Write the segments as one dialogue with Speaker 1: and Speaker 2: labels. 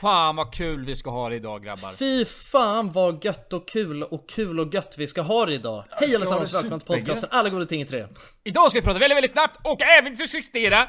Speaker 1: fan vad kul vi ska ha det idag grabbar.
Speaker 2: Fy fan vad gött och kul och kul och gött vi ska ha det idag. Hej
Speaker 1: ska
Speaker 2: allesammans
Speaker 1: ha det
Speaker 2: välkomna till podcasten
Speaker 1: supergött.
Speaker 2: Alla goda ting i tre.
Speaker 1: Idag ska vi prata väldigt, väldigt snabbt och även justera.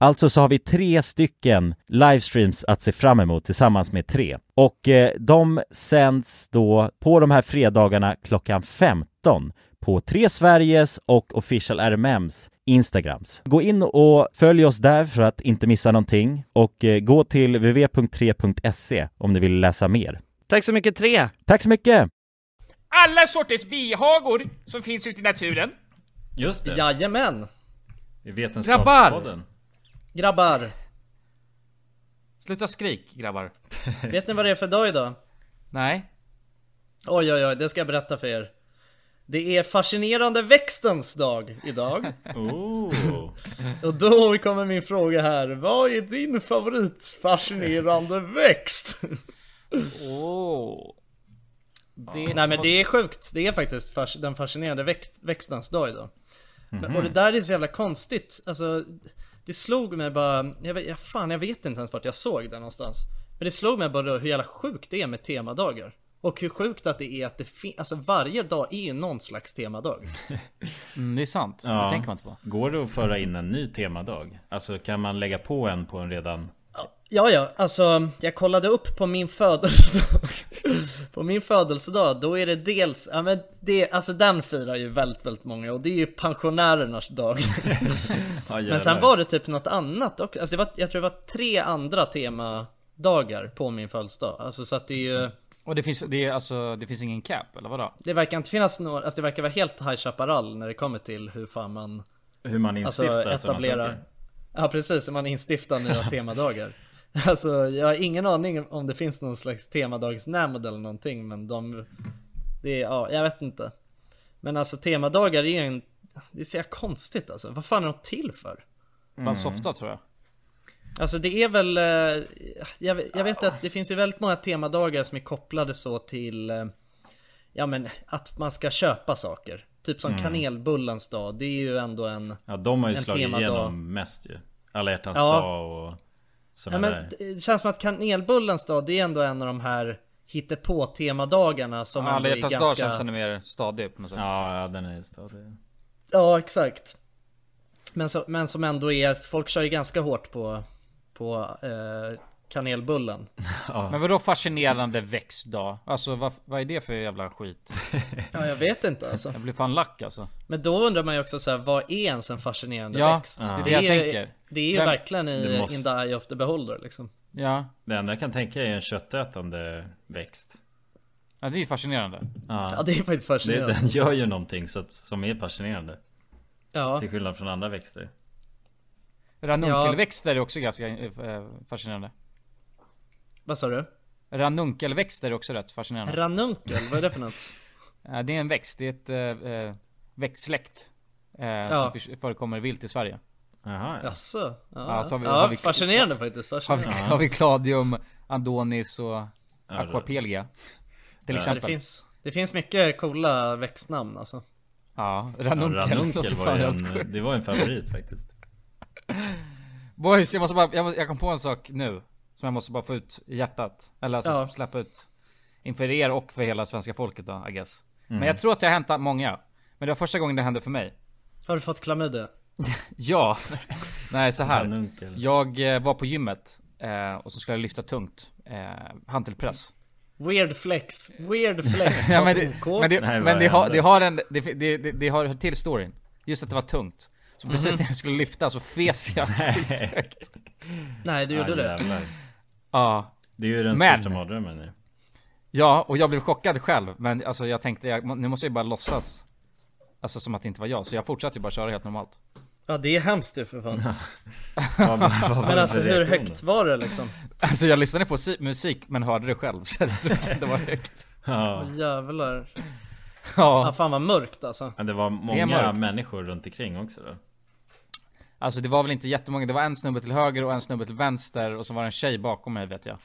Speaker 3: Alltså så har vi tre stycken livestreams att se fram emot tillsammans med tre. Och eh, de sänds då på de här fredagarna klockan 15 på Tre Sveriges och Official RMMs Instagrams. Gå in och följ oss där för att inte missa någonting och eh, gå till www.3.se e om ni vill läsa mer.
Speaker 4: Tack så mycket tre!
Speaker 3: Tack så mycket!
Speaker 1: Alla sorters bihagor som finns ute i naturen.
Speaker 5: Just det,
Speaker 2: Jajamän!
Speaker 5: i Vetenskapspodden.
Speaker 2: Grabbar,
Speaker 1: Sluta skrik grabbar.
Speaker 2: vet ni vad det är för dag idag?
Speaker 1: Nej.
Speaker 2: Oj oj oj, det ska jag berätta för er. Det är fascinerande växtens dag idag.
Speaker 5: Oh.
Speaker 2: Och då kommer min fråga här. Vad är din favoritfascinerande växt?
Speaker 1: Åh. Det
Speaker 2: Nej men det är sjukt. Det är faktiskt fas- den fascinerande växt, växtens dag idag. Men, och det där är så jävla konstigt. Alltså, det slog mig bara, jag vet, ja, fan jag vet inte ens vart jag såg det någonstans. Men det slog mig bara hur jävla sjukt det är med temadagar. Och hur sjukt att det är att det finns, alltså varje dag är ju någon slags temadag.
Speaker 6: Mm, det är sant.
Speaker 5: Ja.
Speaker 6: Det tänker man inte på.
Speaker 5: Går det att föra in en ny temadag? Alltså kan man lägga på en på en redan...
Speaker 2: Ja, ja, alltså jag kollade upp på min födelsedag. på min födelsedag, då är det dels, ja men det, alltså den firar ju väldigt, väldigt många och det är ju pensionärernas dag. men sen var det typ något annat också. Alltså det var, jag tror det var tre andra temadagar på min födelsedag. Alltså så att det är ju,
Speaker 6: Och det finns, det är alltså, det finns ingen cap, eller vadå?
Speaker 2: det verkar inte finnas några, alltså det verkar vara helt High Chaparral när det kommer till hur fan man
Speaker 5: Hur man instiftar
Speaker 2: Alltså etablera Ja precis, man instiftar nya temadagar Alltså jag har ingen aning om det finns någon slags temadagsnämnd eller någonting men de Det är, ja jag vet inte Men alltså temadagar är ju en Det är så jävla konstigt alltså, vad fan är de till för?
Speaker 6: Bara softa tror jag.
Speaker 2: Alltså det är väl, eh, jag, jag vet att det finns ju väldigt många temadagar som är kopplade så till eh, Ja men att man ska köpa saker Typ som kanelbullens dag, det är ju ändå en
Speaker 5: Ja, de har ju
Speaker 2: En
Speaker 5: slagit
Speaker 2: temadag.
Speaker 5: igenom mest ju. Alla hjärtans
Speaker 2: Ja.
Speaker 5: dag och
Speaker 2: Ja,
Speaker 5: sådana
Speaker 2: men
Speaker 5: där.
Speaker 2: det känns som att kanelbullens dag, det är ändå en av de här hittepå-temadagarna som ändå
Speaker 6: Alla
Speaker 2: är
Speaker 6: hjärtans dag
Speaker 2: ganska...
Speaker 6: känns ännu mer stadig på något sätt.
Speaker 5: Ja, ja, den är stadig.
Speaker 2: Ja, exakt. Men, så, men som ändå är, folk kör ju ganska hårt på, på eh, kanelbullen.
Speaker 6: Men vadå fascinerande växtdag? Alltså vad, vad är det för jävla skit?
Speaker 2: Ja, jag vet inte alltså.
Speaker 6: Jag blir fan lack alltså.
Speaker 2: Men då undrar man ju också så här, vad är ens en fascinerande
Speaker 6: Ja,
Speaker 2: växt?
Speaker 6: det är det jag
Speaker 2: är,
Speaker 6: tänker.
Speaker 2: Det är ju
Speaker 6: Vem-
Speaker 2: verkligen i
Speaker 5: Det måste-
Speaker 2: in the eye of the beholder liksom.
Speaker 6: Ja,
Speaker 5: Det enda jag kan tänka är en köttätande växt.
Speaker 6: ja det är ju fascinerande.
Speaker 2: Ja, det är faktiskt
Speaker 5: Det,
Speaker 2: fascinerande.
Speaker 5: Den gör ju någonting så, som är fascinerande.
Speaker 2: Ja.
Speaker 5: Till skillnad från andra växter.
Speaker 6: Ranunkelväxter är också ganska eh, fascinerande.
Speaker 2: Vad sa du?
Speaker 6: Ranunkelväxter är också rätt fascinerande.
Speaker 2: Ranunkel, vad är det för något?
Speaker 6: Eh, Det är en växt, det är ett eh, eh, växtsläkt. Eh, Som förs- förekommer vilt i Sverige.
Speaker 5: Jaha, ja.
Speaker 2: Jaså? Ja,
Speaker 6: Ja, så har vi-
Speaker 2: ja
Speaker 6: har vi-
Speaker 2: fascinerande faktiskt.
Speaker 6: Har vi,
Speaker 2: Fascinerande.
Speaker 6: har vi Claudium, Andonis och
Speaker 5: det-
Speaker 6: Aquapelgia. Till
Speaker 2: Ja, det,
Speaker 6: exempel.
Speaker 2: finns, det finns mycket coola växtnamn alltså.
Speaker 6: Ja,
Speaker 5: Ja,
Speaker 6: ranunkel.
Speaker 5: ranunkel
Speaker 6: låter
Speaker 5: var
Speaker 6: fan
Speaker 5: ju
Speaker 6: helt sjukt.
Speaker 5: en, det var en favorit faktiskt.
Speaker 6: Boys, jag måste bara, jag, måste, jag kom på en sak nu. Som jag måste bara få ut i hjärtat. Eller alltså
Speaker 2: Ja.
Speaker 6: släppa ut. Inför er och för hela svenska folket då, I guess. Men jag tror att det har hänt många. Men det var första gången det hände för mig.
Speaker 2: Har du fått klamydia?
Speaker 6: Ja. Nej så här.
Speaker 5: Ranunkel.
Speaker 6: Jag eh, var på gymmet. Eh, och så skulle jag lyfta tungt. Eh, hantelpress.
Speaker 2: Weird flex, weird flex.
Speaker 6: Ja, men det,
Speaker 2: OK.
Speaker 6: men det,
Speaker 5: Nej, vad
Speaker 6: men det, har,
Speaker 5: hände?
Speaker 6: det har en, det, det, det, det har hör till storyn. Just att det var tungt.
Speaker 5: Mhm.
Speaker 6: Så precis när jag skulle lyfta så fes jag skithögt.
Speaker 2: Nej, du
Speaker 5: Ja,
Speaker 2: gjorde det.
Speaker 5: jävlar.
Speaker 6: Ja.
Speaker 5: Det är ju den
Speaker 6: Men-
Speaker 5: största mardrömmen nu.
Speaker 6: Ja, och jag blev chockad själv. Men alltså jag tänkte, jag, nu måste jag ju bara låtsas. Alltså som att det inte var jag. Så jag fortsatte ju bara köra helt normalt.
Speaker 2: Ja, det är hemskt ju för fan.
Speaker 5: Vad, vad, vad var
Speaker 2: Men
Speaker 5: det
Speaker 2: alltså
Speaker 5: för
Speaker 2: hur
Speaker 5: reaktion?
Speaker 2: högt var det liksom?
Speaker 6: Alltså jag lyssnade på si- musik men hörde det själv. Så det, det var högt.
Speaker 5: Ja.
Speaker 2: Åh, Jävlar. Ja,
Speaker 6: Ja.
Speaker 2: fan vad mörkt alltså.
Speaker 5: Men det var många
Speaker 6: mörkt.
Speaker 5: människor runt omkring också då.
Speaker 6: Alltså det var väl inte jättemånga. Det var en snubbe till höger och en snubbe till vänster. Och så var det en tjej bakom mig vet jag.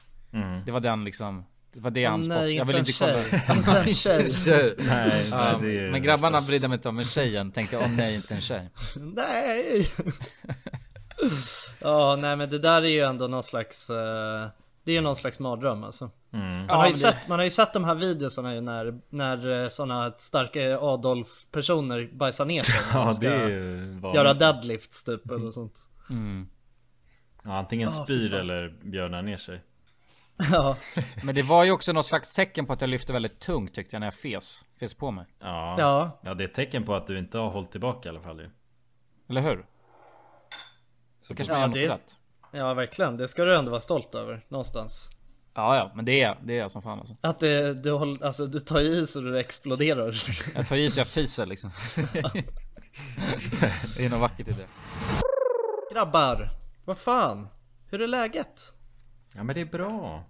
Speaker 6: Det var den liksom. Det var det han sport. Jag
Speaker 2: Nej, inte
Speaker 6: vill
Speaker 2: en
Speaker 6: inte
Speaker 2: tjej.
Speaker 6: kolla.
Speaker 2: Inte en tjej.
Speaker 6: Tjej.
Speaker 5: Nej,
Speaker 6: Ja,
Speaker 5: det är ju
Speaker 6: men grabbarna brydde mig inte om, men tjejen tänkte åh nej inte en tjej.
Speaker 2: Nej. Ja, nej men det där är ju ändå någon slags... eh, Det är ju någon slags mardröm alltså.
Speaker 5: Mm.
Speaker 2: Man, har ju sett, man har ju sett de här videorna ju när, när sådana starka Adolf-personer bajsar ner sig. när de
Speaker 5: Ja
Speaker 2: ska
Speaker 5: det är ju vanligt.
Speaker 2: Göra deadlifts typ eller sånt.
Speaker 5: ja, Antingen spyr eller björnar ner sig.
Speaker 2: Ja,
Speaker 6: Men det var ju också något slags tecken på att jag lyfte väldigt tungt tyckte jag när jag fes. Fes på mig.
Speaker 5: Ja. ja.
Speaker 2: ja.
Speaker 5: det är ett tecken på att du inte har hållit tillbaka i alla fall ju.
Speaker 6: Eller hur? Så kanske man
Speaker 2: Ja,
Speaker 6: gör
Speaker 2: det är-
Speaker 6: något rätt.
Speaker 2: Ja verkligen, det ska du ändå vara stolt över någonstans.
Speaker 6: Ja, ja, men det är, det är jag som fan alltså.
Speaker 2: Att det, du, håller, alltså, du tar i så du exploderar.
Speaker 6: Jag tar i så jag fiser liksom. det är något vackert i det.
Speaker 2: Grabbar, vad fan? Hur är läget?
Speaker 5: Ja men det är bra.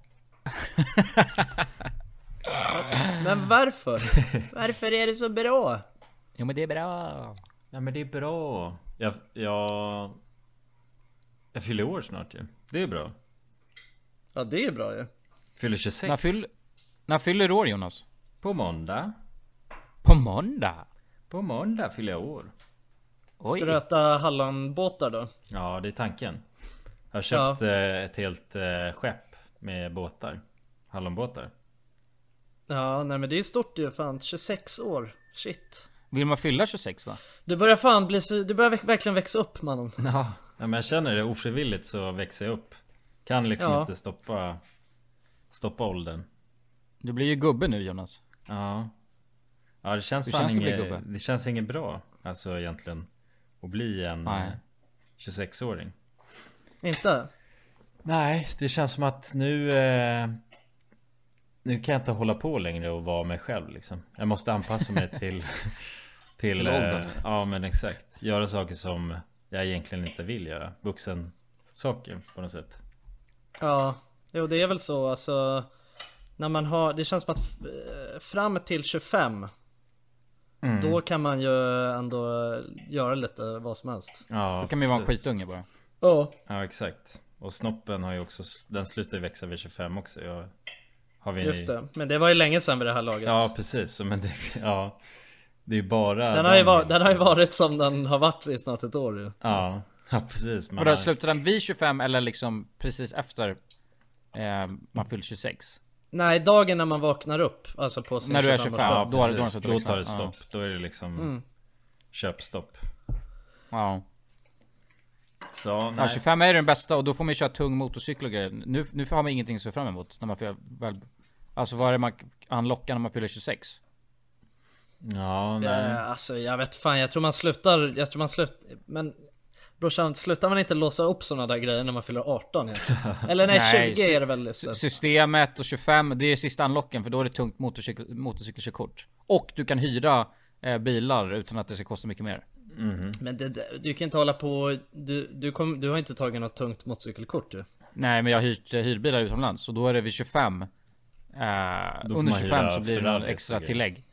Speaker 2: Men varför? Varför är det så bra?
Speaker 6: Jo men det är bra.
Speaker 5: Ja men det är bra. Jag, jag... Jag fyller år snart ju. Det är bra.
Speaker 2: Ja det är ju bra ju.
Speaker 5: Fyller 26.
Speaker 6: När, fyll, när fyller du år Jonas?
Speaker 5: På måndag.
Speaker 6: På måndag?
Speaker 5: På måndag fyller jag år.
Speaker 2: Ska du äta hallonbåtar då?
Speaker 5: Ja det är tanken. Jag har köpt eh, ett helt eh, skepp med båtar. Hallonbåtar.
Speaker 2: Ja, nej men det är stort ju fan, 26 år. Shit.
Speaker 6: Vill man fylla 26 då?
Speaker 2: Du börjar fan bli, så- du börjar verk- verkligen växa upp mannen.
Speaker 6: Ja.
Speaker 5: Ja, men jag känner det ofrivilligt så växer jag upp. Kan liksom
Speaker 2: Ja.
Speaker 5: inte stoppa Stoppa åldern.
Speaker 6: Du blir ju gubbe nu Jonas.
Speaker 5: Ja. Ja det känns
Speaker 6: Hur
Speaker 5: fan
Speaker 6: känns det att bli
Speaker 5: inget,
Speaker 6: gubbe?
Speaker 5: det känns inget bra. Alltså egentligen. Att bli en
Speaker 6: Nej.
Speaker 5: eh, 26-åring.
Speaker 2: Inte?
Speaker 5: Nej, det känns som att nu eh, Nu kan jag inte hålla på längre och vara mig själv liksom. Jag måste anpassa mig till Till
Speaker 6: åldern.
Speaker 5: eh, Ja men exakt. Göra saker som jag egentligen inte vill göra. Vuxen saker på något sätt.
Speaker 2: Ja, jo det är väl så alltså. När man har, det känns som att eh, fram till 25 Då kan man ju ändå eh, göra lite vad som helst.
Speaker 5: Ja,
Speaker 6: Då kan man ju vara en
Speaker 5: precis.
Speaker 6: skitunge bara.
Speaker 2: Ja.
Speaker 5: Ja exakt. Och snoppen har ju också, den slutar ju växa vid 25 också. Jag, har vi en ny-
Speaker 2: Just det, men det var ju länge sedan vid det här laget.
Speaker 5: Ja precis, Så, men det, ja. Det är ju bara
Speaker 2: den, har ju
Speaker 5: de-
Speaker 2: var, den har ju varit som den har varit i snart ett år ju.
Speaker 5: Ja, ja precis. Man
Speaker 6: Vadå,
Speaker 5: har-
Speaker 6: slutar den vid 25 eller liksom precis efter eh, man fyllt 26?
Speaker 2: Nej, dagen när man vaknar upp, alltså på sin
Speaker 6: När du är
Speaker 2: 25
Speaker 6: 25,
Speaker 5: ja,
Speaker 6: då har det- då har
Speaker 5: precis.
Speaker 6: det
Speaker 5: då
Speaker 6: slutat
Speaker 5: tar det
Speaker 6: växa. Ja.
Speaker 5: stopp. Då är det liksom
Speaker 2: Mm.
Speaker 5: köpstopp.
Speaker 6: Ja.
Speaker 5: Så
Speaker 6: ja,
Speaker 5: nej.
Speaker 6: 25 är ju den bästa och då får man ju köra tung motorcykel och grejer. Nu, nu har man ingenting att se fram emot när man fyller väl... Alltså vad är det man anlockar när man fyller 26?
Speaker 5: Ja, nej.
Speaker 2: Eh, alltså jag vet fan, jag tror man slutar, jag tror man slutar, men brorsan, slutar man inte låsa upp sådana där grejer när man fyller 18 egentligen? Eller nej,
Speaker 6: Nej,
Speaker 2: 20
Speaker 6: sy-
Speaker 2: är det väl just
Speaker 6: S-
Speaker 2: det.
Speaker 6: Systemet och 25, det är sista anlocken för då är det tungt motorcykel, motorcykelkörkort. Och du kan hyra eh, bilar utan att det ska kosta mycket mer.
Speaker 2: Men det, det- du kan inte hålla på, du, du, kom, du har inte tagit något tungt motorcykelkort du.
Speaker 6: Nej men jag har hyrt eh, hyrbilar utomlands och då är det vid 25 eh, Under
Speaker 5: man
Speaker 6: 25
Speaker 5: hyra
Speaker 6: så blir det någon
Speaker 5: Ferraris och
Speaker 6: extra
Speaker 5: grejer.
Speaker 6: tillägg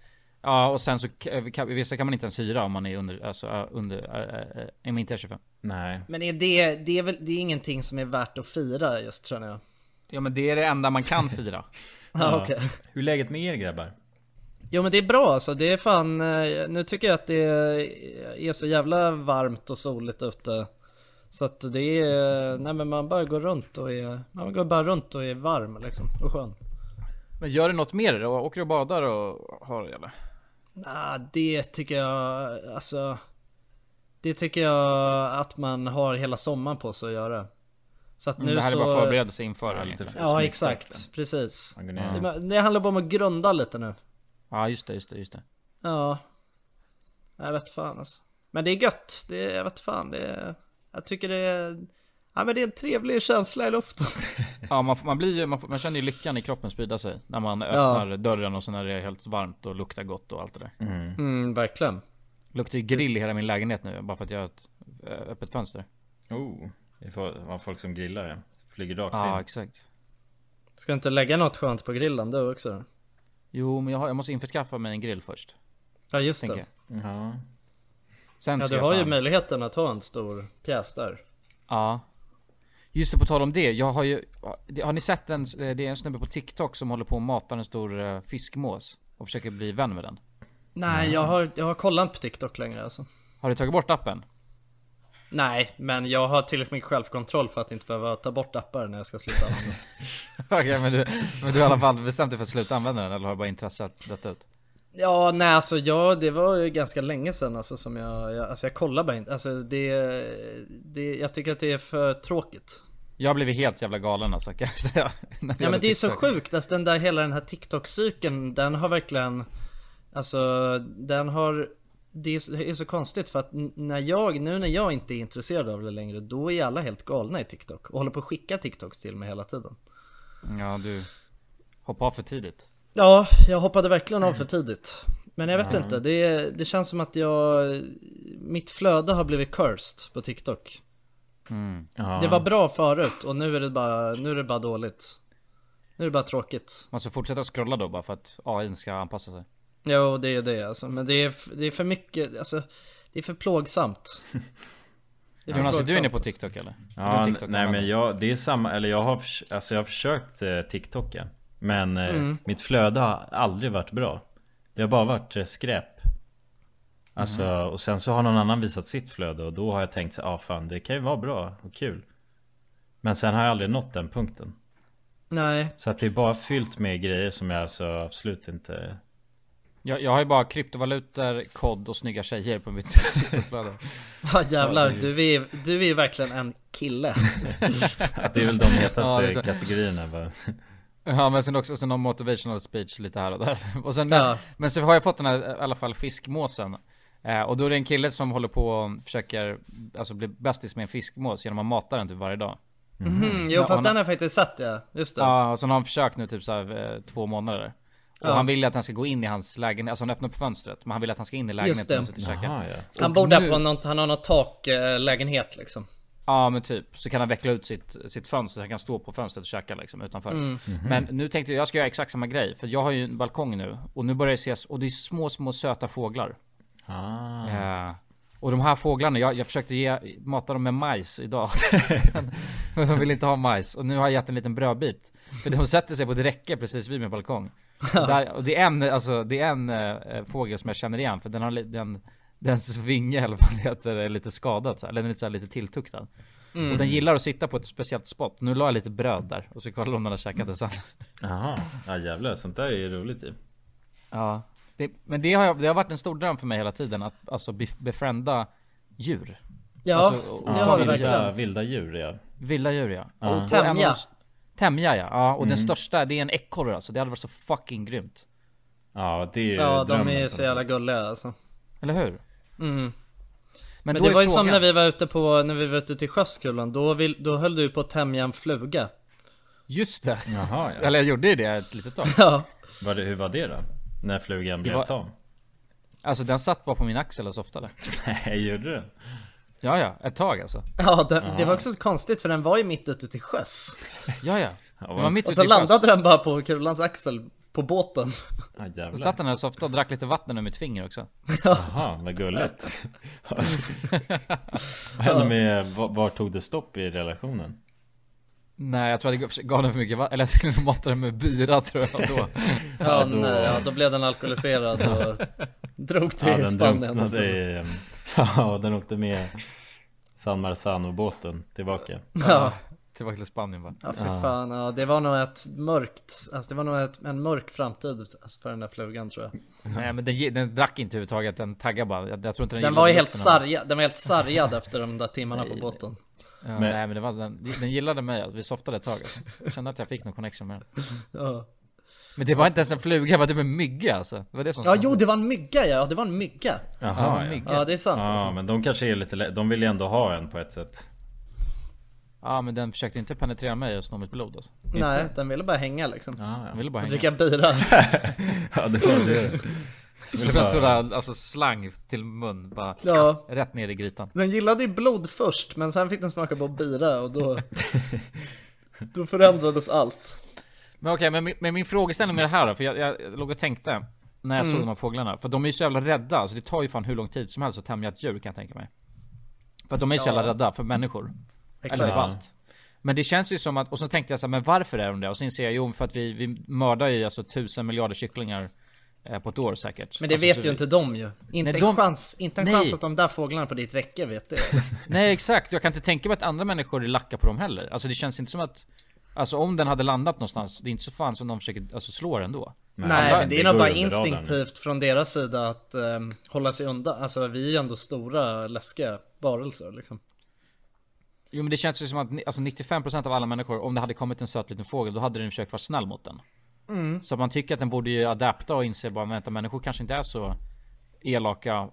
Speaker 6: Ja och sen så k- eh, kan, vissa kan man inte ens hyra om man är under, alltså eh, under, eh, eh, om man inte är 25
Speaker 5: nej.
Speaker 2: Men är det, det är väl, det är ingenting som är värt att fira just tror jag.
Speaker 6: Ja men det är det enda man kan fira
Speaker 2: Ja, okej.
Speaker 5: Hur är läget med er grabbar?
Speaker 2: Jo men det är bra alltså, det är fan, eh, nu tycker jag att det är så jävla varmt och soligt ute. Så att det är, eh, nej men man bara går runt och är, man går bara runt och är varm liksom, och skön.
Speaker 6: Men gör du något mer då? Åker du och badar och har eller?
Speaker 2: Nah, det tycker jag, alltså. Det tycker jag att man har hela sommaren på sig att göra. Så att nu
Speaker 6: Mm, det här
Speaker 2: så...
Speaker 6: är bara förberedelse inför
Speaker 5: Ja,
Speaker 6: egentligen.
Speaker 5: lite
Speaker 2: Ja
Speaker 5: smygstart.
Speaker 2: exakt, precis.
Speaker 5: Man går ner.
Speaker 2: Det, det handlar bara om att grunda lite nu.
Speaker 6: Ja just det, just det, just det
Speaker 2: Ja. Jag vet fan alltså. Men det är gött, det är, jag vet fan, det är, Jag tycker det är... Ja men det är en trevlig känsla i luften.
Speaker 6: Ja man, får- man blir ju, man, får, man känner ju lyckan i kroppen sprida sig När man öppnar dörren och sen när det är helt varmt och luktar gott och allt det där
Speaker 2: Mm, verkligen.
Speaker 6: Luktar ju grill i hela min lägenhet nu bara för att jag har ett eh, öppet fönster
Speaker 5: Oh, det får- var folk som grillar ja. Flyger rakt
Speaker 6: Ja
Speaker 2: Typ.
Speaker 5: in.
Speaker 6: exakt
Speaker 2: Ska inte lägga något skönt på grillen du också?
Speaker 6: Jo, men jag, har, jag måste införskaffa mig en grill först.
Speaker 2: Ja just
Speaker 6: Tänker
Speaker 2: det.
Speaker 6: jag.
Speaker 5: Ja.
Speaker 6: Sen
Speaker 2: Ja
Speaker 6: ska
Speaker 2: du
Speaker 6: jag
Speaker 2: har ju
Speaker 6: fan-
Speaker 2: möjligheten att ha en stor pjäs där.
Speaker 6: Ja. Just det, på tal om det. Jag har ju... det- Har ni sett en... eh, Det är en snubbe på TikTok som håller på och matar en stor eh, fiskmås. Och försöker bli vän med den.
Speaker 2: Nej jag har, jag har kollat inte på TikTok längre alltså.
Speaker 6: Har du tagit bort appen?
Speaker 2: Nej men jag har tillräckligt mycket självkontroll för att inte behöva ta bort appar när jag ska sluta använda.
Speaker 6: Okej, men, du, men du har i alla fall bestämt dig för att sluta använda den? Eller har du bara intresset dött ut?
Speaker 2: Ja nej alltså jag, det var ju ganska länge sedan alltså som jag, jag alltså jag kollar bara inte, alltså det, det, jag tycker att det är för tråkigt.
Speaker 6: Jag har blivit helt jävla galen alltså kan jag säga. När
Speaker 2: Ja
Speaker 6: gäller
Speaker 2: men det är så
Speaker 6: TikTok.
Speaker 2: sjukt, alltså den där hela den här TikTok-cykeln, den har verkligen, alltså den har, det är, så- det är så konstigt för att n- när jag, nu när jag inte är intresserad av det längre, då är alla helt galna i TikTok och håller på att skicka TikToks till mig hela tiden.
Speaker 6: Ja, du... Hoppa av för tidigt.
Speaker 2: Ja, jag hoppade verkligen av för tidigt. Men jag vet
Speaker 6: Mm.
Speaker 2: inte, det, det känns som att jag... Mitt flöde har blivit cursed på TikTok.
Speaker 6: Mm.
Speaker 5: Ja.
Speaker 2: Det var bra förut och nu är det bara, nu är det bara dåligt. Nu är det bara tråkigt.
Speaker 6: Man ska fortsätta scrolla då bara för att AI ska anpassa sig.
Speaker 2: Jo, det är det alltså. Men det är, f- det är för mycket, alltså. Det är för plågsamt. Det är för
Speaker 6: Jonas, är du inne på
Speaker 2: plågsamt.
Speaker 6: TikTok eller? Du är
Speaker 5: Ja,
Speaker 6: en
Speaker 5: n- nej
Speaker 6: TikTok-användare.
Speaker 5: men jag, det är samma, eller jag har, förs- alltså jag har försökt eh, TikToka Men eh,
Speaker 6: Mm.
Speaker 5: mitt flöde har aldrig varit bra Det har bara varit eh, skräp Alltså,
Speaker 6: Mm.
Speaker 5: och sen så har någon annan visat sitt flöde och då har jag tänkt så ah, fan det kan ju vara bra och kul Men sen har jag aldrig nått den punkten
Speaker 2: Nej.
Speaker 5: Så att det är bara fyllt med grejer som jag alltså absolut inte...
Speaker 6: Jag, jag har ju bara kryptovalutor, kod och snygga tjejer på mitt TikTok-flöde.
Speaker 2: Ja jävlar, du är, du är ju verkligen en kille.
Speaker 5: Att det är väl de
Speaker 6: Ja, det är
Speaker 5: hetaste
Speaker 6: så.
Speaker 5: kategorierna bara.
Speaker 6: Ja men sen också sen någon motivational speech lite här och där. Och sen,
Speaker 2: Ja.
Speaker 6: men, men så har jag fått den här i alla fall fiskmåsen. Eh, och då är det en kille som håller på och försöker alltså, bli bästis med en fiskmås genom att mata den typ varje dag.
Speaker 2: Mm, jo
Speaker 6: Ja,
Speaker 2: fast
Speaker 6: han-
Speaker 2: den har jag faktiskt sett ja, just det.
Speaker 6: Ja, och sen har han försökt nu typ så här, eh, två månader. Och
Speaker 2: Ja.
Speaker 6: han vill att han ska gå in i hans lägenhet, alltså han öppnar på fönstret. Men han vill att han ska in i lägenheten
Speaker 2: det.
Speaker 6: och sitta och käka.
Speaker 5: Jaha, ja.
Speaker 2: han
Speaker 6: och
Speaker 2: bor där
Speaker 6: nu-
Speaker 2: på något, han har någon taklägenhet liksom.
Speaker 6: Ja men typ, så kan han veckla ut sitt, sitt fönster, så han kan stå på fönstret och käka liksom utanför. Men nu tänkte jag, jag ska göra exakt samma grej. För jag har ju en balkong nu. Och nu börjar det ses, och det är små små söta fåglar.
Speaker 5: Ah.
Speaker 6: Ja. Eh, Och de här fåglarna, jag, jag försökte ge, mata dem med majs idag. Men de vill inte ha majs. Och nu har jag gett en liten brödbit. För de sätter sig på ett räcke precis vid min balkong. Och, där, och det är en, alltså, det är en eh, fågel som jag känner igen. För den har li- den, dens vinge eller vad det heter är lite skadad. Så här, eller den är lite, så här, lite tilltuktad. Och den gillar att sitta på ett speciellt spot. Nu la jag lite bröd där. Och så kollar om den har käkat det sen.
Speaker 5: Jaha, ja jävlar sånt där är ju roligt ju.
Speaker 6: Ja. Det, men det har, jag, det har varit en stor dröm för mig hela tiden. Att alltså be, befrända djur.
Speaker 2: Ja,
Speaker 6: Alltså,
Speaker 2: det har du
Speaker 6: vilda-
Speaker 5: vilda,
Speaker 2: verkligen.
Speaker 5: vilda djur ja.
Speaker 6: Vilda djur ja.
Speaker 2: Och
Speaker 6: en av de
Speaker 2: tämja.
Speaker 6: s- Tämja ja, ja och den största det är en ekorre alltså, det hade varit så fucking grymt.
Speaker 5: Ja det är ju
Speaker 2: Ja de
Speaker 5: drömmen
Speaker 2: är
Speaker 5: på
Speaker 2: ju
Speaker 5: något
Speaker 2: så
Speaker 5: sätt.
Speaker 2: jävla gulliga alltså.
Speaker 6: Eller hur? Men,
Speaker 2: Men
Speaker 6: då
Speaker 2: det
Speaker 6: är
Speaker 2: var ju
Speaker 6: frågan-
Speaker 2: som när vi var ute på, när vi var ute till Sjöskullan, då, vill, då höll du ju på att tämja en fluga.
Speaker 6: Just det!
Speaker 5: Jaha ja.
Speaker 6: Eller jag gjorde ju det ett litet tag.
Speaker 2: Ja.
Speaker 5: Var det, hur var det då? När flugan blev
Speaker 6: var-
Speaker 5: tam? så
Speaker 6: Alltså den satt bara på min axel och softade.
Speaker 5: Nej gjorde den?
Speaker 6: Ja ja, ett tag alltså.
Speaker 2: Ja, det, det var också så konstigt för den var ju mitt ute till sjöss.
Speaker 6: Ja ja. Den var
Speaker 5: vad-
Speaker 6: mitt
Speaker 2: Och
Speaker 6: ute
Speaker 2: så
Speaker 6: i sjöss.
Speaker 2: landade den bara på kulans axel på båten.
Speaker 5: Ja jävlar.
Speaker 6: Då satt den här och softade och drack lite vatten ur mitt finger också.
Speaker 5: Jaha, vad gulligt. Vad hände med, var, var tog det stopp i relationen?
Speaker 6: Nej jag tror att jag gav den för mycket vatten, eller jag skulle nog mata den med bira tror jag då.
Speaker 2: Ja,
Speaker 5: då-
Speaker 2: nej, ja, då blev den alkoholiserad och drog till
Speaker 5: Ja, den
Speaker 2: Spanien.
Speaker 5: drunknade i... em, ehm, Ja, den åkte med San Marzano-båten tillbaka.
Speaker 2: Ja,
Speaker 6: Tillbaka till Spanien bara.
Speaker 2: ja, för fan. Ja, det var nog ett mörkt, alltså det var nog ett, en mörk framtid alltså, för den där flugan tror jag.
Speaker 6: Nej men den, ge- den drack inte överhuvudtaget, den taggade bara. Jag, jag tror inte den
Speaker 2: Den
Speaker 6: gillade
Speaker 2: var ju helt
Speaker 6: lukten av-
Speaker 2: sargad, den var helt sargad efter de där timmarna på båten.
Speaker 6: Ja,
Speaker 5: Men-
Speaker 6: Nej men det var, den, den gillade mig, alltså. vi softade ett tag alltså. Jag kände att jag fick någon connection med den
Speaker 2: Ja.
Speaker 6: Men det var inte ens en fluga, det var typ en mygga alltså Det var det som
Speaker 2: ja, jo det var en mygga ja, det var en mygga.
Speaker 6: ja,
Speaker 5: Jaha,
Speaker 6: en
Speaker 5: ja. alltså.
Speaker 6: mygga.
Speaker 2: Ja, det är sant.
Speaker 5: Ja, men de kanske är lite lä- De vill ju ändå ha en på ett sätt.
Speaker 6: ja men den försökte inte penetrera mig och sno mitt blod alltså.
Speaker 2: Nej, den ville bara hänga liksom.
Speaker 5: Ah, Ja,
Speaker 6: Den ville bara
Speaker 2: Och
Speaker 6: hänga
Speaker 2: dricka bira.
Speaker 5: ja det var det.
Speaker 6: Det var en stor alltså, slang till mun bara
Speaker 2: Ja.
Speaker 6: Rätt ner i grytan
Speaker 2: Den gillade ju blod först, men sen fick den smaka på bira och då... Då förändrades allt.
Speaker 6: Men okej, men, min- men min frågeställning med det här då, för jag, jag låg och tänkte När jag
Speaker 2: Mm.
Speaker 6: såg de här fåglarna, för de är ju så jävla rädda alltså, det tar ju fan hur lång tid som helst att tämja ett djur kan jag tänka mig För att de är ju så jävla rädda för människor Eller typ
Speaker 2: Exakt.
Speaker 6: allt. Men det känns ju som att, och så tänkte jag så här, men varför är de det? Och så inser jag, jo för att vi, vi mördar ju alltså tusen miljarder kycklingar eh, på ett år säkert.
Speaker 2: Men det
Speaker 6: alltså,
Speaker 2: vet
Speaker 6: så
Speaker 2: ju
Speaker 6: vi-
Speaker 2: inte de ju. Inte
Speaker 6: Nej,
Speaker 2: en
Speaker 6: de-
Speaker 2: chans, inte en
Speaker 6: Nej.
Speaker 2: chans att de där fåglarna på ditt räcke vet det.
Speaker 6: Nej exakt, jag kan inte tänka mig att andra människor lackar på dem heller. Alltså det känns inte som att, alltså om den hade landat någonstans, det är inte så fan som de försöker, alltså slå den då.
Speaker 2: Nej, men det är
Speaker 5: går
Speaker 2: nog bara
Speaker 5: ju under radarn.
Speaker 2: instinktivt från deras sida att ehm, hålla sig undan. Alltså vi är ju ändå stora läskiga varelser liksom.
Speaker 6: Jo men det känns ju som att ni- alltså 95% av alla människor, om det hade kommit en söt liten fågel, då hade den försökt vara snäll mot den.
Speaker 2: Mm.
Speaker 6: Så att man tycker att den borde ju adapta och inse bara, vänta människor kanske inte är så elaka.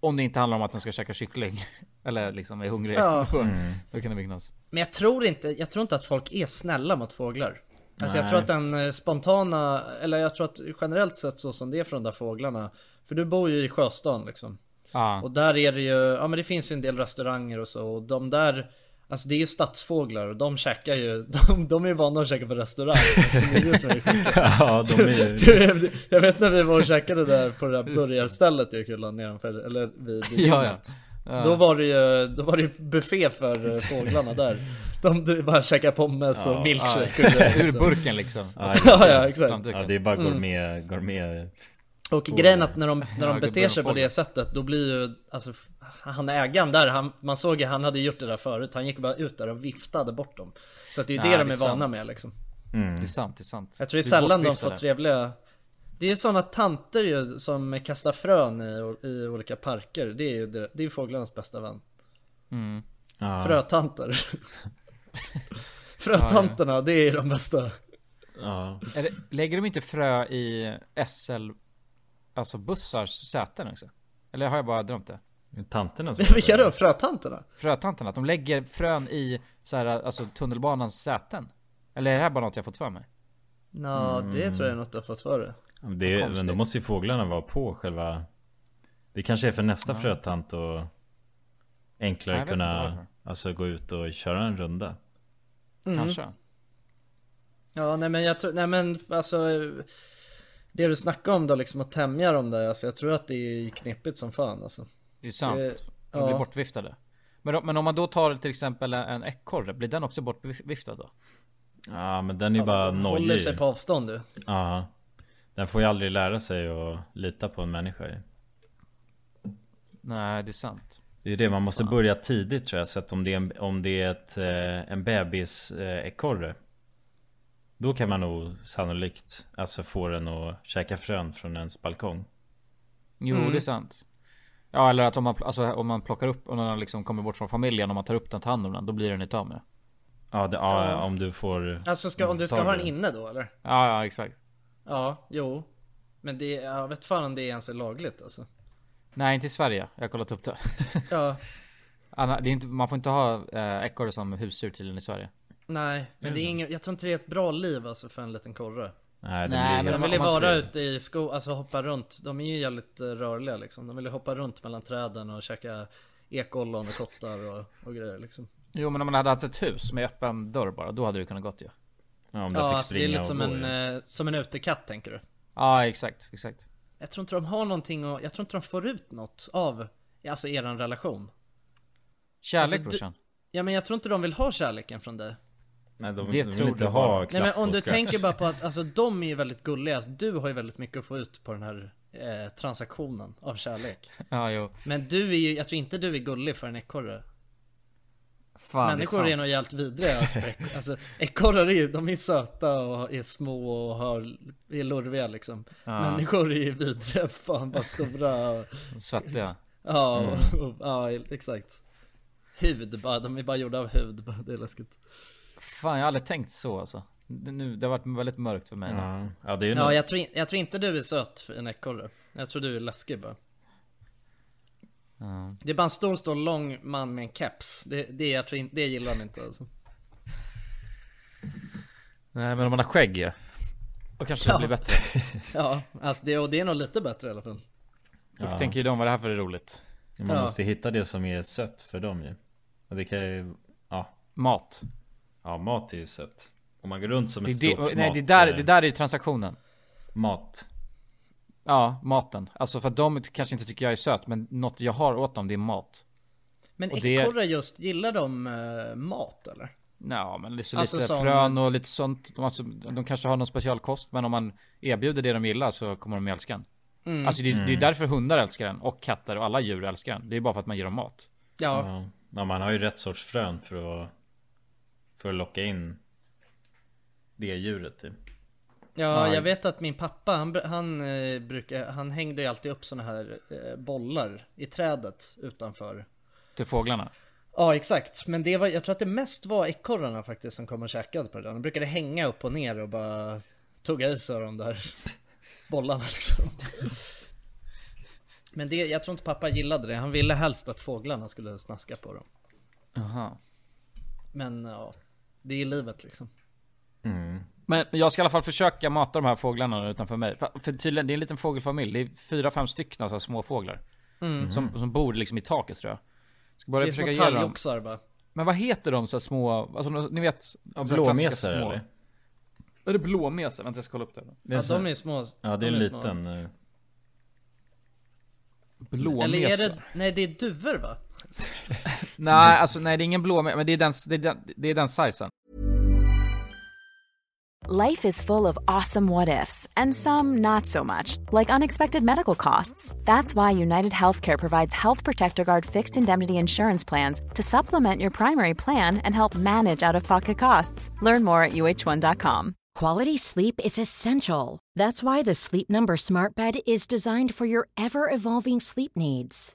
Speaker 6: Om det inte handlar om att den ska käka kyckling. Eller liksom är hungrig.
Speaker 2: Ja.
Speaker 6: Då, då kan det vinnas.
Speaker 2: Men jag tror inte, jag tror inte att folk är snälla mot fåglar. Alltså jag tror att den eh, spontana, eller jag tror att generellt sett så som det är från de där fåglarna. För du bor ju i sjöstan liksom.
Speaker 6: Ja.
Speaker 2: Och där är det ju, ja men det finns ju en del restauranger och så och de där Alltså det är ju stadsfåglar och de käkar ju, de, de är ju vana att käka på restaurang. Så det är det som är sjukt.
Speaker 5: Ja, de är ju...
Speaker 2: Du, jag vet när vi var och käkade där på det där burgarstället i Kullan nedanför, eller vid vid
Speaker 6: Ja,
Speaker 2: gymmet. Då var det ju, då var det ju buffé för eh, fåglarna där. De dr- bara käkade pommes och milkshake och grejer,
Speaker 6: Ur
Speaker 2: liksom.
Speaker 6: burken liksom.
Speaker 2: Ja, ja exakt.
Speaker 6: Framduken.
Speaker 5: Ja, det är bara gourmet, gourmet
Speaker 2: Och grejen att när de, när
Speaker 6: Ja,
Speaker 2: de beter sig på
Speaker 6: gubbfågel.
Speaker 2: det sättet då blir ju alltså, f- han ägaren där, han, man såg ju han hade gjort det där förut. Han gick bara ut där och viftade bort dem. Så att det är ju
Speaker 6: Ja,
Speaker 2: det de
Speaker 6: det
Speaker 2: är
Speaker 6: är
Speaker 2: vana
Speaker 6: sant.
Speaker 2: med liksom.
Speaker 6: Det är sant, det är sant.
Speaker 2: Jag tror det
Speaker 6: Vi
Speaker 2: är sällan de får
Speaker 6: bortviftade.
Speaker 2: trevliga Det är ju sådana tanter ju som kastar frön i, i olika parker Det är ju det, det är ju fåglarnas bästa vän
Speaker 5: Ja,
Speaker 2: Frötanter Frötanterna, det är de bästa
Speaker 5: ja.
Speaker 6: Är det- Lägger de inte frö i SL, alltså bussars säten också? Eller har jag bara drömt det?
Speaker 5: Tanterna som
Speaker 2: Vilka då? Frötanterna?
Speaker 6: Frötanterna, att de lägger frön i så här, alltså tunnelbanans säten? Eller är det här bara något jag fått för mig?
Speaker 2: Nå,
Speaker 5: Mm.
Speaker 2: det tror jag är något du har fått för dig
Speaker 5: det är, Men då måste ju fåglarna vara på själva Det kanske är för nästa frötant och
Speaker 6: Jag
Speaker 5: Enklare
Speaker 6: vet inte
Speaker 5: kunna
Speaker 6: varför.
Speaker 5: Alltså gå ut och köra en runda
Speaker 2: Mm.
Speaker 6: Kanske?
Speaker 2: Ja nej men jag tror, nej men alltså Det du snackade om då liksom att tämja dem där alltså, Jag tror att det är knepigt som fan alltså
Speaker 6: Det är sant.
Speaker 2: Eh,
Speaker 6: De blir
Speaker 2: ja.
Speaker 6: bortviftade. Men, om- men om man då tar till exempel en- en ekorre, blir den också bortviftad då?
Speaker 5: Ja men den är ju bara
Speaker 2: Håller
Speaker 5: nojig
Speaker 2: sig på avstånd du
Speaker 5: Ja Den får ju aldrig lära sig att lita på en människa ju.
Speaker 6: Nej, det är sant.
Speaker 5: Det är ju det, man måste börja tidigt tror jag. Så att om det är en, om det är ett, eh, en bebis eh, ekorre. Då kan man nog sannolikt alltså få den att käka frön från ens balkong.
Speaker 6: Jo,
Speaker 2: Mm.
Speaker 6: det är sant. Ja, eller att om man, pl- alltså, om man plockar upp, om den liksom kommer bort från familjen, om man tar upp den, tar hand om den, då blir den inte av med det.
Speaker 5: Ja, det, ja, om du får...
Speaker 2: Alltså ska, om du ska
Speaker 5: Tar
Speaker 2: ha
Speaker 5: du
Speaker 2: den
Speaker 5: det?
Speaker 2: inne då eller?
Speaker 6: Ja, ja, exakt.
Speaker 2: Ja, jo. Men det, jag vet fan om det ens är lagligt alltså.
Speaker 6: Nej, inte i Sverige. Jag har kollat upp det.
Speaker 2: Ja,
Speaker 6: Anna, det är inte, man får inte ha eh, ekorre som husdjur tydligen i Sverige.
Speaker 2: nej. Men det är ingen, jag tror inte det är ett bra liv alltså för en liten korre.
Speaker 6: Nej,
Speaker 5: Nej, blir
Speaker 6: men
Speaker 5: helt
Speaker 2: De vill ju
Speaker 5: massiv.
Speaker 2: vara ute i skog, alltså hoppa runt. De är ju jävligt eh, rörliga liksom. De vill ju hoppa runt mellan träden och käka ekollon och kottar och, och grejer liksom.
Speaker 6: Jo, men om man hade haft ett hus med öppen dörr bara, då hade det kunnat gått ju.
Speaker 5: Ja, om de
Speaker 2: Ja,
Speaker 5: fick
Speaker 2: alltså, det är
Speaker 5: springa
Speaker 2: lite som
Speaker 5: och gå.
Speaker 2: en,
Speaker 5: ju.
Speaker 2: eh, som en utekatt tänker du.
Speaker 6: Ja, exakt, exakt.
Speaker 2: Jag tror inte de har någonting och jag tror inte de får ut något av, alltså eran relation.
Speaker 6: Kärlek
Speaker 2: Alltså, du-
Speaker 6: brorsan.
Speaker 2: Ja men jag tror inte de vill ha kärleken från dig.
Speaker 5: Nej, de,
Speaker 6: det
Speaker 5: de
Speaker 6: tror
Speaker 5: vill inte
Speaker 6: du bara.
Speaker 5: ha klapp
Speaker 2: Nej men om
Speaker 5: och
Speaker 2: du
Speaker 5: skratt.
Speaker 2: tänker bara på att alltså, de är ju väldigt gulliga, alltså, du har ju väldigt mycket att få ut på den här eh, transaktionen av kärlek.
Speaker 6: Ja, jo.
Speaker 2: Men du är ju, jag tror inte du är gullig för en ekorre.
Speaker 6: Fan,
Speaker 2: Människor
Speaker 6: det
Speaker 2: är nog jävligt vidriga. Alltså, för ek- alltså, ekorrar är ju, de är söta och är små och har, är lurviga liksom. Människor är ju vidriga, fan vad stora och,
Speaker 6: nog... Svettiga.
Speaker 2: ja, och, och, ja exakt. Hud bara, de är bara gjorda av hud, bara, det är läskigt.
Speaker 6: Fan, jag har aldrig tänkt så alltså. Det, nu, det har varit väldigt mörkt för mig.
Speaker 5: Ja, ja det är ju
Speaker 2: Ja,
Speaker 5: nog-
Speaker 2: jag tror, in- jag tror inte du är söt för en ekorre. Jag tror du är läskig bara. Det är bara en stor, stor, lång man med en keps. Det, det, jag tror in, det gillar han inte alltså.
Speaker 6: Nej, men om man har skägg ju. Då kanske det blir bättre.
Speaker 2: Ja, alltså det, och det är nog lite bättre i alla fall.
Speaker 6: Då tänker ju de, vad är det här för roligt?
Speaker 5: Man
Speaker 2: ja.
Speaker 5: måste hitta det som är sött för dem ju. Och det kan ju... Ja,
Speaker 6: Mat.
Speaker 5: ja mat är ju sött. Om man går runt som
Speaker 6: Det,
Speaker 5: ett
Speaker 6: är
Speaker 5: stort
Speaker 6: det, nej, det,
Speaker 5: mat-
Speaker 6: där, det där är ju transaktionen.
Speaker 5: Mat.
Speaker 6: Ja, maten. Alltså för att de kanske inte tycker jag är söt, men något jag har åt dem det är mat.
Speaker 2: Men
Speaker 6: Och det-
Speaker 2: ekorrar just, gillar de eh, mat eller?
Speaker 6: Ja, men lite,
Speaker 2: Alltså
Speaker 6: lite
Speaker 2: som-
Speaker 6: frön och lite sånt. De, alltså, de kanske har någon specialkost, men om man erbjuder det de gillar så kommer de älska den.
Speaker 2: Mm.
Speaker 6: Alltså det,
Speaker 5: Mm.
Speaker 6: det är därför hundar älskar den och katter och alla djur älskar den. Det är bara för att man ger dem mat.
Speaker 2: Ja,
Speaker 5: Ja. ja, man har ju rätt sorts frön för att, för att locka in det djuret typ.
Speaker 2: ja, jag vet att min pappa, han, br- han, eh, brukar, han hängde ju alltid upp såna här eh, bollar i trädet utanför
Speaker 6: Till fåglarna.
Speaker 2: Ja exakt, men det var, jag tror att det mest var ekorrarna faktiskt som kom och käkade på det där. De brukade hänga upp och ner och bara tugga i sig av de där bollarna liksom. Men det, jag tror inte pappa gillade det. Han ville helst att fåglarna skulle snaska på dem.
Speaker 6: Aha.
Speaker 2: Men ja, det är livet liksom.
Speaker 6: Men jag ska i alla fall försöka mata de här fåglarna utanför mig. För, för tydligen, det är en liten fågelfamilj. Det är fyra, fem stycken så här småfåglar.
Speaker 5: Mm-hmm.
Speaker 6: Som, som bor liksom i taket tror jag. Ska bara
Speaker 2: Mm. det är
Speaker 6: försöka
Speaker 2: små
Speaker 6: ge dem.
Speaker 2: talgoxar bara.
Speaker 6: Men vad heter de så här små, alltså ni vet? Ja,
Speaker 5: Blåmesar eller?
Speaker 6: Är det blåmesar? Vänta jag ska kolla upp det.
Speaker 5: Det
Speaker 2: Ja,
Speaker 5: så-
Speaker 2: de är små.
Speaker 5: ja, det är
Speaker 2: de
Speaker 5: en
Speaker 2: små.
Speaker 5: liten. eh,
Speaker 6: Blåmesar?
Speaker 2: Eller är det, nej det är duvor va?
Speaker 6: Nej, alltså nej det är ingen blåmesar, men det är den, det är den, det är den sizen.
Speaker 7: Life is full of awesome what ifs and some not so much, like unexpected medical costs. That's why United Healthcare provides Health Protector Guard fixed indemnity insurance plans to supplement your primary plan and help manage out of pocket costs. Learn more at uh1.com.
Speaker 8: Quality sleep is essential. That's why the Sleep Number Smart Bed is designed for your ever evolving sleep needs.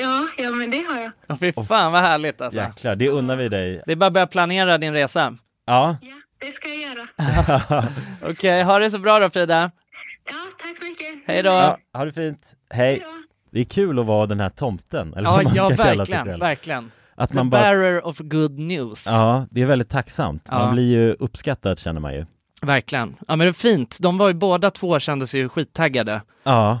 Speaker 9: Ja, ja, men det har jag.
Speaker 4: Ja. Fy fan vad härligt alltså.
Speaker 3: Jäklar, det unnar vi dig.
Speaker 4: Det är bara att börja planera din resa.
Speaker 3: Ja,
Speaker 9: Ja, det ska jag göra.
Speaker 4: Okej, ha det så bra då Frida.
Speaker 9: Ja, tack så mycket.
Speaker 4: Hej då.
Speaker 3: ja ha det fint. Hej. Det är kul att vara den här tomten, eller
Speaker 4: Ja,
Speaker 3: vad man
Speaker 4: ja
Speaker 3: ska kalla sig
Speaker 4: verkligen,
Speaker 3: själv.
Speaker 4: verkligen.
Speaker 3: Att
Speaker 4: The
Speaker 3: man bara,
Speaker 4: bearer of good news.
Speaker 3: ja, det är väldigt tacksamt. Man
Speaker 4: Ja.
Speaker 3: blir ju uppskattad känner man ju.
Speaker 4: Verkligen. Ja men det är fint. De var ju båda två kändes ju skittaggade
Speaker 3: Ja,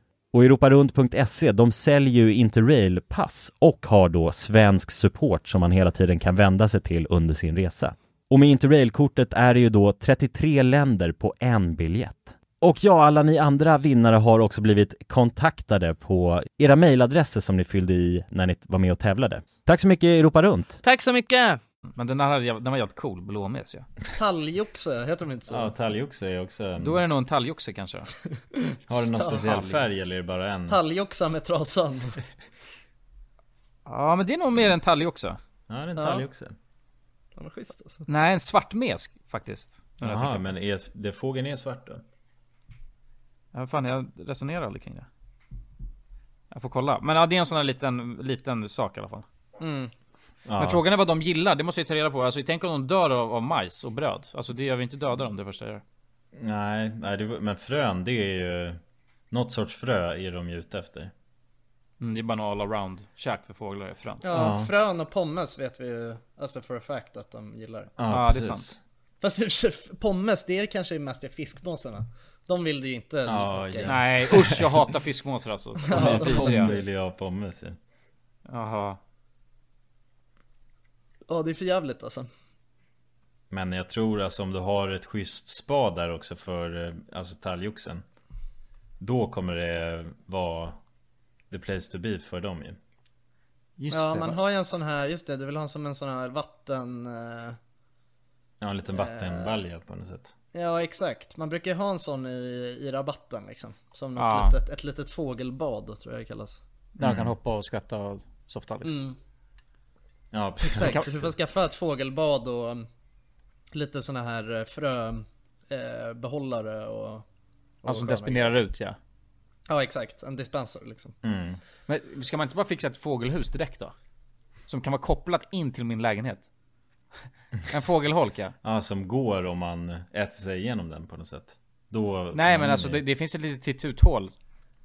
Speaker 3: Och europarunt.se, E, de säljer ju Interrail-pass och har då svensk support som man hela tiden kan vända sig till under sin resa. Och med Interrail-kortet är det ju då 33 länder på en biljett. Och ja, alla ni andra vinnare har också blivit kontaktade på era mejladresser som ni fyllde i när ni var med och tävlade. Tack så mycket Europa Runt!
Speaker 4: Tack så mycket!
Speaker 6: Men den, här, den var jävligt cool, blåmes ja.
Speaker 2: Talgoxe, heter de inte så?
Speaker 5: Ja, talgoxe är också en...
Speaker 6: Då är det nog en talgoxe kanske då.
Speaker 5: Har den någon
Speaker 2: Ja.
Speaker 5: speciell färg eller är det bara en?
Speaker 2: Talgoxa med trasan.
Speaker 6: Ja men det är nog mer en talgoxe.
Speaker 5: Ja, det är en
Speaker 2: Ja.
Speaker 5: talgoxe.
Speaker 2: Ja, men schysst alltså.
Speaker 6: Nej en svartmesk faktiskt.
Speaker 5: Jaha, men är, det, fågeln är svart då?
Speaker 6: Ja, fan jag resonerar aldrig kring det. Jag får kolla. Men ja, det är en sån här liten, liten sak i alla fall.
Speaker 2: Mm.
Speaker 6: Men frågan är vad de gillar, det måste jag ta reda på. Alltså tänk om de dör av, av majs och bröd. Alltså det, jag vill inte döda dem det första jag gör.
Speaker 5: Nej, nej det, var- men frön det är ju... Något sorts frö är de ju ute efter.
Speaker 6: Mm, det är bara en all around käk för fåglar är frön.
Speaker 2: Ja,
Speaker 5: Ja.
Speaker 2: frön och pommes vet vi ju, alltså for a fact att de gillar.
Speaker 6: Ja, det är sant.
Speaker 2: Fast i och för sig, pommes, det är kanske mest är fiskmåsarna. De vill det ju inte.
Speaker 5: Ja,
Speaker 2: locka in.
Speaker 5: ja.
Speaker 6: Nej usch jag hatar fiskmåsar alltså. De är
Speaker 5: Pommes
Speaker 6: vidriga.
Speaker 5: vill jag ha pommes ju.
Speaker 6: Jaha.
Speaker 2: Ja, det är för jävligt alltså.
Speaker 5: Men jag tror alltså om du har ett schysst spa där också för eh, alltså talgoxen. Då kommer det vara the place to be för dem ju.
Speaker 6: Just
Speaker 2: ja,
Speaker 6: det,
Speaker 2: man
Speaker 6: va?
Speaker 2: har ju en sån här, just det, du vill ha som en sån här vatten... eh,
Speaker 5: Ja, en liten vattenbalja på något sätt.
Speaker 2: Ja, exakt. Man brukar ju ha en sån i, i rabatten liksom. Som något
Speaker 6: Ja.
Speaker 2: litet, ett litet fågelbad, tror jag det kallas.
Speaker 6: Där de kan hoppa och skvätta och softa liksom.
Speaker 2: Mm,
Speaker 5: Ja,
Speaker 2: exakt. Du får skaffa ett fågelbad och um, lite såna här eh, frö... Eh, behållare och... och
Speaker 6: Alltså
Speaker 2: sköna
Speaker 6: despinerar
Speaker 2: grejer.
Speaker 6: ut ja.
Speaker 2: Ja, exakt. En dispenser liksom.
Speaker 5: Mm.
Speaker 6: Men ska man inte bara fixa ett fågelhus direkt då? Som kan vara kopplat in till min lägenhet. En fågelholk ja.
Speaker 5: Ja, som går om man äter sig igenom den på något sätt. Då
Speaker 6: Nej men alltså det, det finns ett litet tittuthål.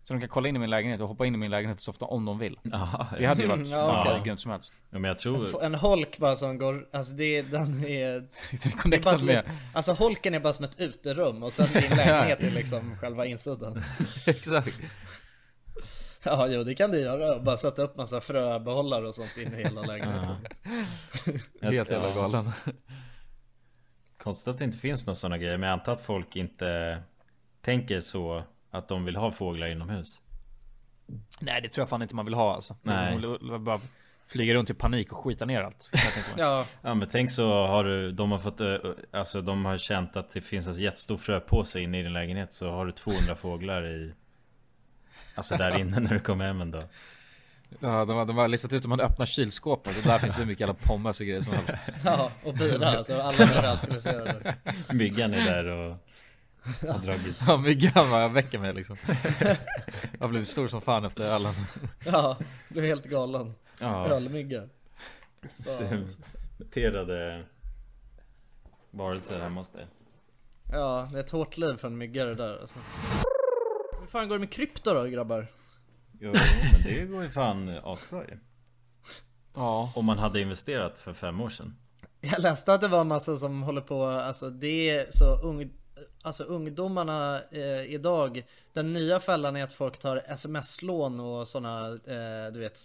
Speaker 6: Så de kan kolla in i min lägenhet och hoppa in i min lägenhet så ofta om de vill.
Speaker 5: Aha,
Speaker 6: Det hade ju varit
Speaker 2: Ja,
Speaker 6: fan
Speaker 5: okej.
Speaker 6: hur grymt som helst.
Speaker 5: Ja, men jag tror...
Speaker 2: Få En holk bara som går, alltså det är, den är...
Speaker 6: Det är
Speaker 2: det är bara
Speaker 6: connectat
Speaker 2: ett
Speaker 6: med.
Speaker 2: lit- Alltså holken är bara som ett uterum och sen din lägenhet är liksom själva insidan.
Speaker 6: Exakt.
Speaker 2: Ja, jo det kan du göra. Bara sätta upp massa fröbehållare och sånt in i hela lägenheten.
Speaker 5: jag-
Speaker 6: Helt jävla
Speaker 5: ja.
Speaker 6: galen.
Speaker 5: Konstigt att det inte finns några sådana grejer, men jag antar att folk inte tänker så att de vill ha fåglar inomhus.
Speaker 6: Nej det tror jag fan inte man vill ha alltså.
Speaker 5: Nej.
Speaker 6: Man vill bara flyga runt i panik och skita ner allt. kan jag tänka mig.
Speaker 2: Ja,
Speaker 5: Ja men tänk så har du, de har fått, ö, alltså de har känt att det finns en jättestor fröpåse inne i din lägenhet så har du 200 fåglar i Alltså där inne när du kommer hem en dag
Speaker 6: Ja, de, har, de har listat ut om man öppnar kylskåpet och där finns det hur mycket jävla pommes och grejer som helst.
Speaker 2: ja och bira. Då alla blir alkoholiserade.
Speaker 5: Myggan är där och har dragit
Speaker 6: Ja, myggan bara väcker mig liksom. Jag har blivit stor som fan efter ölen.
Speaker 2: Ja, blev helt galen.
Speaker 5: ja,
Speaker 2: Ölmygga. Fan.
Speaker 5: cementerade varelser hemma hos dig
Speaker 2: Ja, det är ett hårt liv för en mygga det där alltså. Hur fan går det med krypto då grabbar?
Speaker 5: Jo men det går ju fan asbra ju
Speaker 6: Ja.
Speaker 5: Om man hade investerat för fem år sedan
Speaker 2: Jag läste att det var en massa som håller på, alltså det är så ung, alltså ungdomarna eh, idag, den nya fällan är att folk tar sms-lån och sådana, eh, du vet,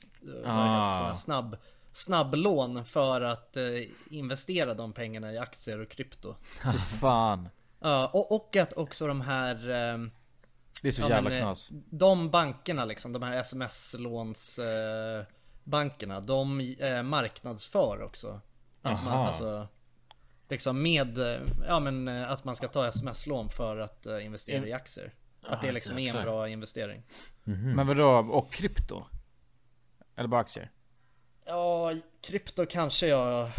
Speaker 5: Ah.
Speaker 2: ah. såna snabb, snabblån för att eh, investera de pengarna i aktier och krypto.
Speaker 6: Fy fan.
Speaker 2: Ja, och, och att också de här ehm,
Speaker 6: Det är så
Speaker 2: Ja,
Speaker 6: jävla
Speaker 2: men, eh,
Speaker 6: knas.
Speaker 2: De bankerna liksom, de här sms-låns eh, bankerna, de eh, marknadsför också. Att man,
Speaker 5: Aha.
Speaker 2: alltså, liksom med, eh, ja men eh, att man ska ta sms-lån för att eh, investera i aktier. Att det liksom är en
Speaker 5: jäklar.
Speaker 2: bra investering. Mm.
Speaker 6: Men vadå? Och krypto? Eller bara aktier?
Speaker 2: Ja, krypto kanske jag,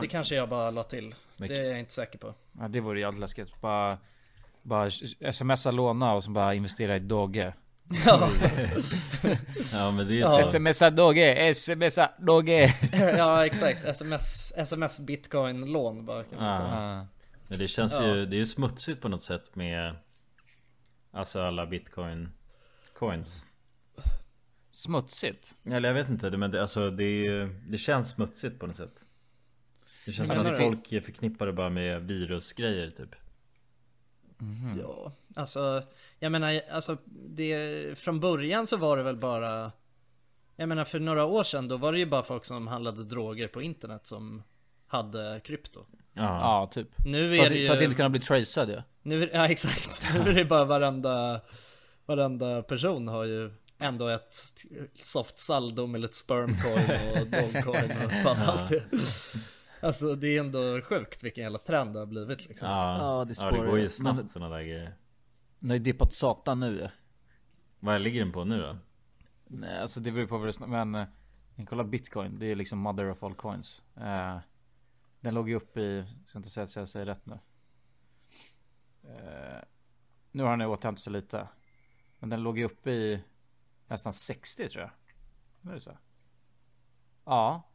Speaker 2: det kanske jag bara la till. Det är jag inte säker på.
Speaker 6: Ja, det vore jävligt läskigt. Bara, bara smsa låna och så bara investera i Doge.
Speaker 2: Ja,
Speaker 5: Ja men det är
Speaker 2: Ja.
Speaker 5: så
Speaker 6: Smsa Doge, smsa Doge.
Speaker 2: ja exakt. Sms, sms bitcoin-lån bara. Kan man ta.
Speaker 6: Ja.
Speaker 5: Men det känns ju, det är ju smutsigt på något sätt med Alltså alla bitcoin coins
Speaker 6: Smutsigt.
Speaker 5: Eller jag vet inte, men det, alltså, det, är ju, det känns smutsigt på något sätt Det känns
Speaker 2: Vad
Speaker 5: som
Speaker 2: menar du?
Speaker 5: att folk förknippar det bara med virusgrejer typ
Speaker 2: Ja, alltså jag menar, alltså det, från början så var det väl bara Jag menar för några år sedan då var det ju bara folk som handlade droger på internet som hade krypto
Speaker 6: Ja, typ.
Speaker 2: Nu
Speaker 6: för,
Speaker 2: är
Speaker 6: att,
Speaker 2: det ju
Speaker 6: för att inte kunna bli tracead ju.
Speaker 2: nu, Ja exakt, nu är det bara varenda Varenda person har ju ändå ett soft saldo med lite spermcoin och dogcoin och fan
Speaker 6: Ja.
Speaker 2: allt det Alltså det är ändå sjukt vilken jävla trend det har blivit liksom
Speaker 6: Ja, det spårar ju. Men-
Speaker 5: sådana där grejer.
Speaker 6: Den har ju dippat satan nu ju.
Speaker 5: Vad ligger den på nu då?
Speaker 6: Nej, alltså det beror på vad du snackar Men eh, kolla bitcoin. Det är liksom mother of all coins. Eh, den låg ju upp i, ska inte säga att jag säger rätt nu. Eh, nu har den ju återhämtat sig lite. Men den låg ju uppe i nästan 60 tror jag. Nu är det så. Ja.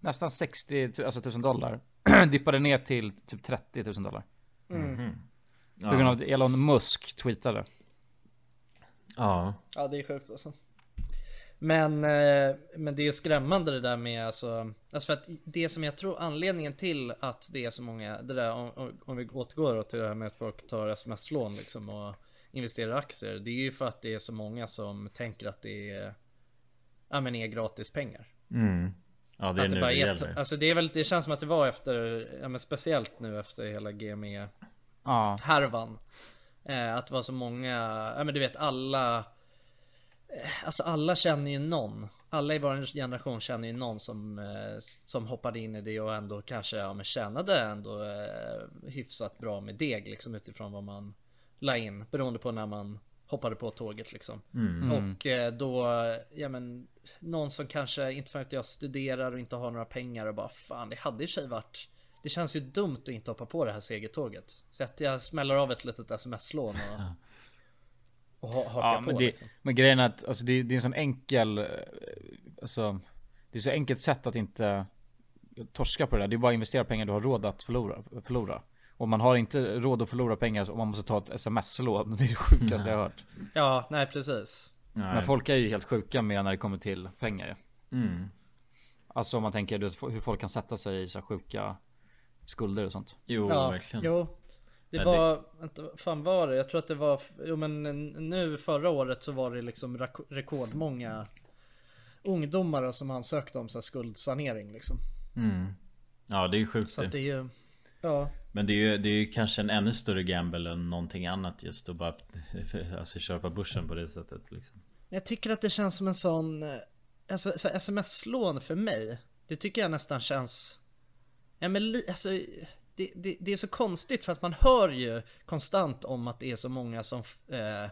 Speaker 6: Nästan 60 tu- alltså, 1000 dollar. Dippade ner till typ 30 000 dollar.
Speaker 2: Mm.
Speaker 5: Mhm.
Speaker 6: På grund av att Elon Musk tweetade.
Speaker 5: Ja.
Speaker 2: Ja det är sjukt alltså. Men, eh, men det är ju skrämmande det där med alltså, alltså för att det som jag tror anledningen till att det är så många, det där om- om, om vi återgår då till det här med att folk tar sms-lån liksom och investerar i aktier. Det är ju för att det är så många som tänker att det är, ja men är gratis pengar.
Speaker 5: Mm. Ja det är
Speaker 2: att
Speaker 5: nu
Speaker 2: bara
Speaker 5: det
Speaker 2: är-
Speaker 5: gäller.
Speaker 2: Alltså det är väl, det känns som att det var efter, ja men speciellt nu efter hela GME
Speaker 6: Ja.
Speaker 2: härvan. Eh, att det var så många, ja men du vet alla, eh, alltså alla känner ju någon. Alla i vår generation känner ju någon som, eh, som hoppade in i det och ändå kanske ja, men tjänade ändå eh, hyfsat bra med deg liksom utifrån vad man la in beroende på när man hoppade på tåget liksom.
Speaker 10: Mm.
Speaker 2: Och eh, då, ja men någon som kanske inte för att jag studerar och inte har några pengar och bara fan det hade i sig varit det känns ju dumt att inte hoppa på det här segertåget. Så att jag smäller av ett litet sms-lån och, och ha, hakar
Speaker 6: ja, men
Speaker 2: på.
Speaker 6: det,
Speaker 2: liksom.
Speaker 6: Men grejen är att alltså, det, det är en sån enkel, eh, alltså, det är så enkelt sätt att inte torska på det där. Det är bara att investera pengar du har råd att förlora. förlora. Och man har inte råd att förlora pengar så- om man måste ta ett sms-lån. Det är det sjukaste jag har hört.
Speaker 2: Ja, nej precis.
Speaker 6: Men folk är ju helt sjuka med när det kommer till pengar ju.
Speaker 5: Mm.
Speaker 6: Alltså om man tänker du vet, hur folk kan sätta sig i så här sjuka skulder och sånt.
Speaker 5: Jo,
Speaker 2: ja, Jo. Det
Speaker 6: Nej,
Speaker 2: var, vänta, vad fan var det? Jag tror att det var, jo men nu förra året så var det liksom rak- rekordmånga ungdomar som ansökte om så här skuldsanering liksom.
Speaker 5: Mm. Ja det är ju sjukt
Speaker 2: Så att det är ju, ja.
Speaker 5: Men det är, ju, det är ju kanske en ännu större gamble än någonting annat just att bara alltså, köpa börsen på det sättet liksom.
Speaker 2: Men jag tycker att det känns som en sån, eh, alltså så här, sms-lån för mig, det tycker jag nästan känns, ja men li, alltså det, det, det är så konstigt för att man hör ju konstant om att det är så många som, f- eh,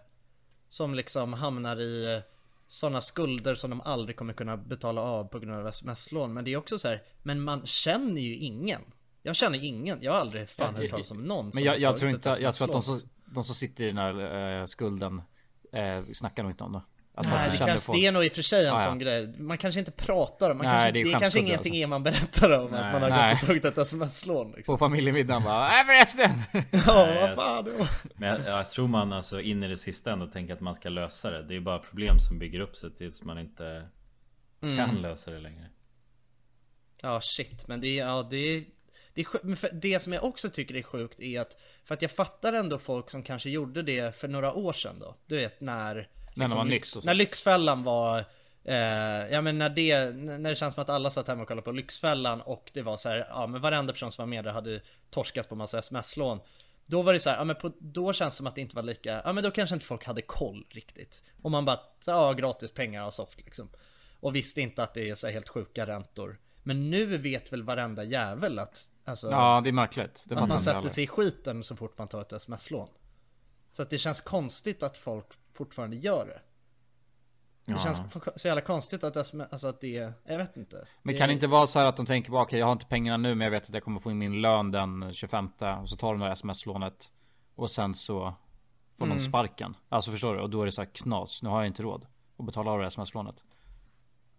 Speaker 2: som liksom hamnar i sådana skulder som de aldrig kommer kunna betala av på grund av sms-lån. Men det är också så här, men man känner ju ingen. Jag känner ingen, jag har aldrig fan hört talas om någon som
Speaker 6: Men jag,
Speaker 2: har
Speaker 6: jag
Speaker 2: tagit
Speaker 6: tror
Speaker 2: ett
Speaker 6: inte, jag tror att de
Speaker 2: sms-lån.
Speaker 6: som, de som sitter i den här eh, skulden eh, snackar nog inte om det. Att folk
Speaker 2: Nej, det,
Speaker 6: känner
Speaker 2: kanske,
Speaker 6: folk. Ah,
Speaker 2: det är nog i och för sig en
Speaker 6: Ja, ja.
Speaker 2: sån grej. Man kanske inte pratar om, man
Speaker 6: Nej,
Speaker 2: kanske,
Speaker 6: det
Speaker 2: det
Speaker 6: är
Speaker 2: är, kanske
Speaker 6: skämskudde,
Speaker 2: ingenting
Speaker 6: alltså.
Speaker 2: man berättar om
Speaker 6: Nej.
Speaker 2: att man har
Speaker 6: Nej.
Speaker 2: gått och tagit ett sms-lån. Liksom.
Speaker 6: På familjemiddagen bara Nej förresten!
Speaker 2: ja, vad fan. det var-
Speaker 5: Men jag, jag tror man alltså in i det sista ändå tänker att man ska lösa det. Det är bara problem som bygger upp sig tills man inte
Speaker 2: Mm.
Speaker 5: kan lösa det längre.
Speaker 2: Ja shit, men det är, ja det är, det, är sjuk- men för det som jag också tycker är sjukt är att För att jag fattar ändå folk som kanske gjorde det för några år sedan då Du vet när liksom
Speaker 6: när det var nytt
Speaker 2: lyx,
Speaker 6: och så.
Speaker 2: När Lyxfällan var eh, Ja men när det, n- när det känns som att alla satt hemma och kollade på Lyxfällan och det var så här, ja men varenda person som var med där hade torskat på massa sms-lån Då var det så här, ja men på, då känns det som att det inte var lika, ja men då kanske inte folk hade koll riktigt Och man bara, så, ja gratis pengar och soft liksom och visste inte att det är så här helt sjuka räntor. Men nu vet väl varenda jävel att... Alltså,
Speaker 6: Ja, det är märkligt. Det
Speaker 2: att
Speaker 6: fattar
Speaker 2: man
Speaker 6: inte
Speaker 2: sätter
Speaker 6: alla.
Speaker 2: sig i skiten så fort man tar ett sms-lån. Så att det känns konstigt att folk fortfarande gör det. Det
Speaker 6: Ja.
Speaker 2: känns så jävla konstigt att, sm- alltså att det är... Jag vet inte.
Speaker 6: Men
Speaker 2: Det
Speaker 6: kan
Speaker 2: är-
Speaker 6: det inte vara så här att de tänker bara okej jag har inte pengarna nu men jag vet att jag kommer få in min lön den 25 och så tar de det här sms-lånet och sen så får
Speaker 2: Mm.
Speaker 6: någon sparken. Alltså förstår du? Och då är det så här knas. Nu har jag inte råd att betala av det här sms-lånet.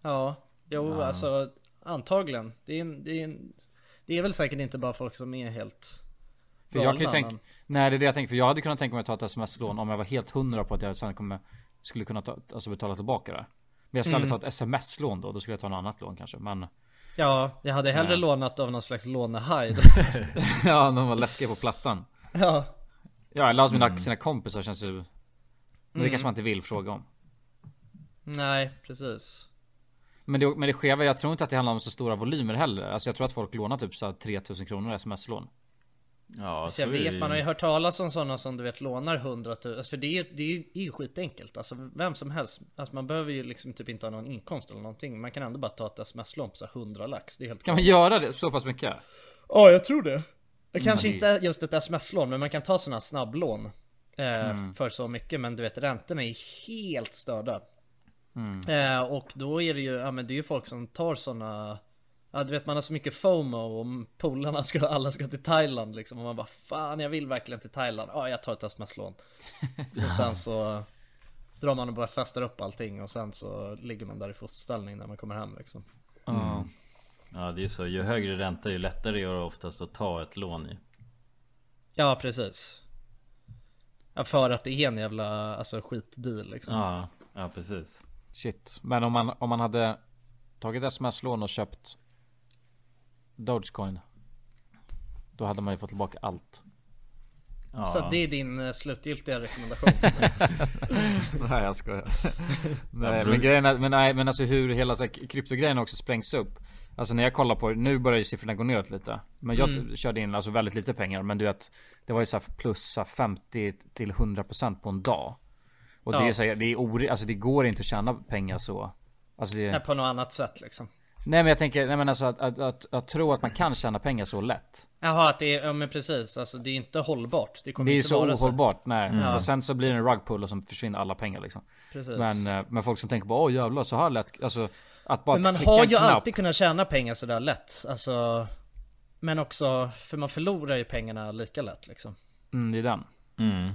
Speaker 2: Ja, jo
Speaker 6: Ja.
Speaker 2: alltså antagligen. Det är, en, det, är en, det är väl säkert inte bara folk som är helt...
Speaker 6: För jag kan ju
Speaker 2: galna,
Speaker 6: tänka,
Speaker 2: men-
Speaker 6: nej det är det jag tänker, för jag hade kunnat tänka mig att ta ett sms-lån om jag var helt hundra på att jag sen kommer, skulle kunna ta, alltså betala tillbaka det. Men jag skulle
Speaker 2: Mm.
Speaker 6: aldrig ta ett sms-lån då, då skulle jag ta något annat lån kanske. Men
Speaker 2: Ja, jag hade hellre
Speaker 6: Nej.
Speaker 2: lånat av någon slags lånehaj.
Speaker 6: ja, de var läskiga på plattan.
Speaker 2: Ja.
Speaker 6: Ja, eller hos mina,
Speaker 2: Mm.
Speaker 6: sina kompisar känns ju... Men det
Speaker 2: Mm.
Speaker 6: kanske man inte vill fråga om.
Speaker 2: Nej, precis.
Speaker 6: Men det, men det skeva, jag tror inte att det handlar om så stora volymer heller. Alltså jag tror att folk lånar typ så här 3000 kronor sms-lån.
Speaker 5: Ja,
Speaker 2: Så Alltså, jag vet, man har ju hört talas om sådana som du vet lånar 100 000, alltså, för det är, ju- det är ju, det är ju skitenkelt. Alltså vem som helst, alltså, man behöver ju liksom typ inte ha någon inkomst eller någonting. Man kan ändå bara ta ett sms-lån på så här 100 lax. Det är helt
Speaker 6: Kan man
Speaker 2: sjukt.
Speaker 6: göra det så pass mycket?
Speaker 2: Ja, jag tror det. Det kanske
Speaker 6: Mm.
Speaker 2: inte just ett sms-lån, men man kan ta sådana snabblån eh,
Speaker 6: Mm.
Speaker 2: för så mycket. Men du vet, räntorna är helt störda.
Speaker 6: Mm.
Speaker 2: Eh, och då är det ju, ja men det är ju folk som tar sådana Ja du vet man har så mycket FOMO och polarna ska, alla ska till Thailand liksom och man bara Fan jag vill verkligen till Thailand, ja jag tar ett sms-lån Och sen så Drar man och bara festar upp allting och sen så ligger man där i fosterställning när man kommer hem liksom
Speaker 5: Mm. Ja det är ju så, ju högre ränta ju lättare är det oftast att ta ett lån i
Speaker 2: Ja precis ja, För att det är en jävla alltså, skitdeal liksom
Speaker 5: Ja, ja precis
Speaker 6: Shit. Men om man, om man hade tagit sms-lån och köpt Dogecoin. Då hade man ju fått tillbaka allt.
Speaker 2: Så det är din eh, slutgiltiga rekommendation
Speaker 6: nej jag skojar.
Speaker 2: Ja,
Speaker 6: nej,
Speaker 2: bror.
Speaker 6: men grejen är, men, nej, men alltså hur hela så här, k- kryptogrejen också sprängs upp. Alltså när jag kollar på det, nu börjar ju siffrorna gå neråt lite. Men jag
Speaker 2: Mm.
Speaker 6: körde in alltså väldigt lite pengar. Men du vet, det var ju så här plus så här 50 till 100% på en dag. Och det
Speaker 2: Ja.
Speaker 6: är så här, det är ori- alltså det går inte att tjäna pengar så. Alltså det,
Speaker 2: Nej, På något annat sätt liksom
Speaker 6: nej men jag tänker, nej men alltså att, att, att, att tro att man kan tjäna pengar så lätt.
Speaker 2: Jaha, att det är, ja men precis, alltså det är inte hållbart. Det, kommer
Speaker 6: det är ju
Speaker 2: inte
Speaker 6: så
Speaker 2: vara
Speaker 6: ohållbart. Nej.
Speaker 2: Ja.
Speaker 6: Och sen så blir det en rugpull och så försvinner alla pengar liksom.
Speaker 2: Precis.
Speaker 6: Men, eh, men folk som tänker på åh jävlar så här lätt. Alltså att bara
Speaker 2: Men man
Speaker 6: klicka
Speaker 2: har
Speaker 6: en
Speaker 2: ju
Speaker 6: knapp.
Speaker 2: alltid kunnat tjäna pengar sådär lätt, alltså. Men också, för man förlorar ju pengarna lika lätt liksom.
Speaker 6: Mm, det är den.
Speaker 5: Mm.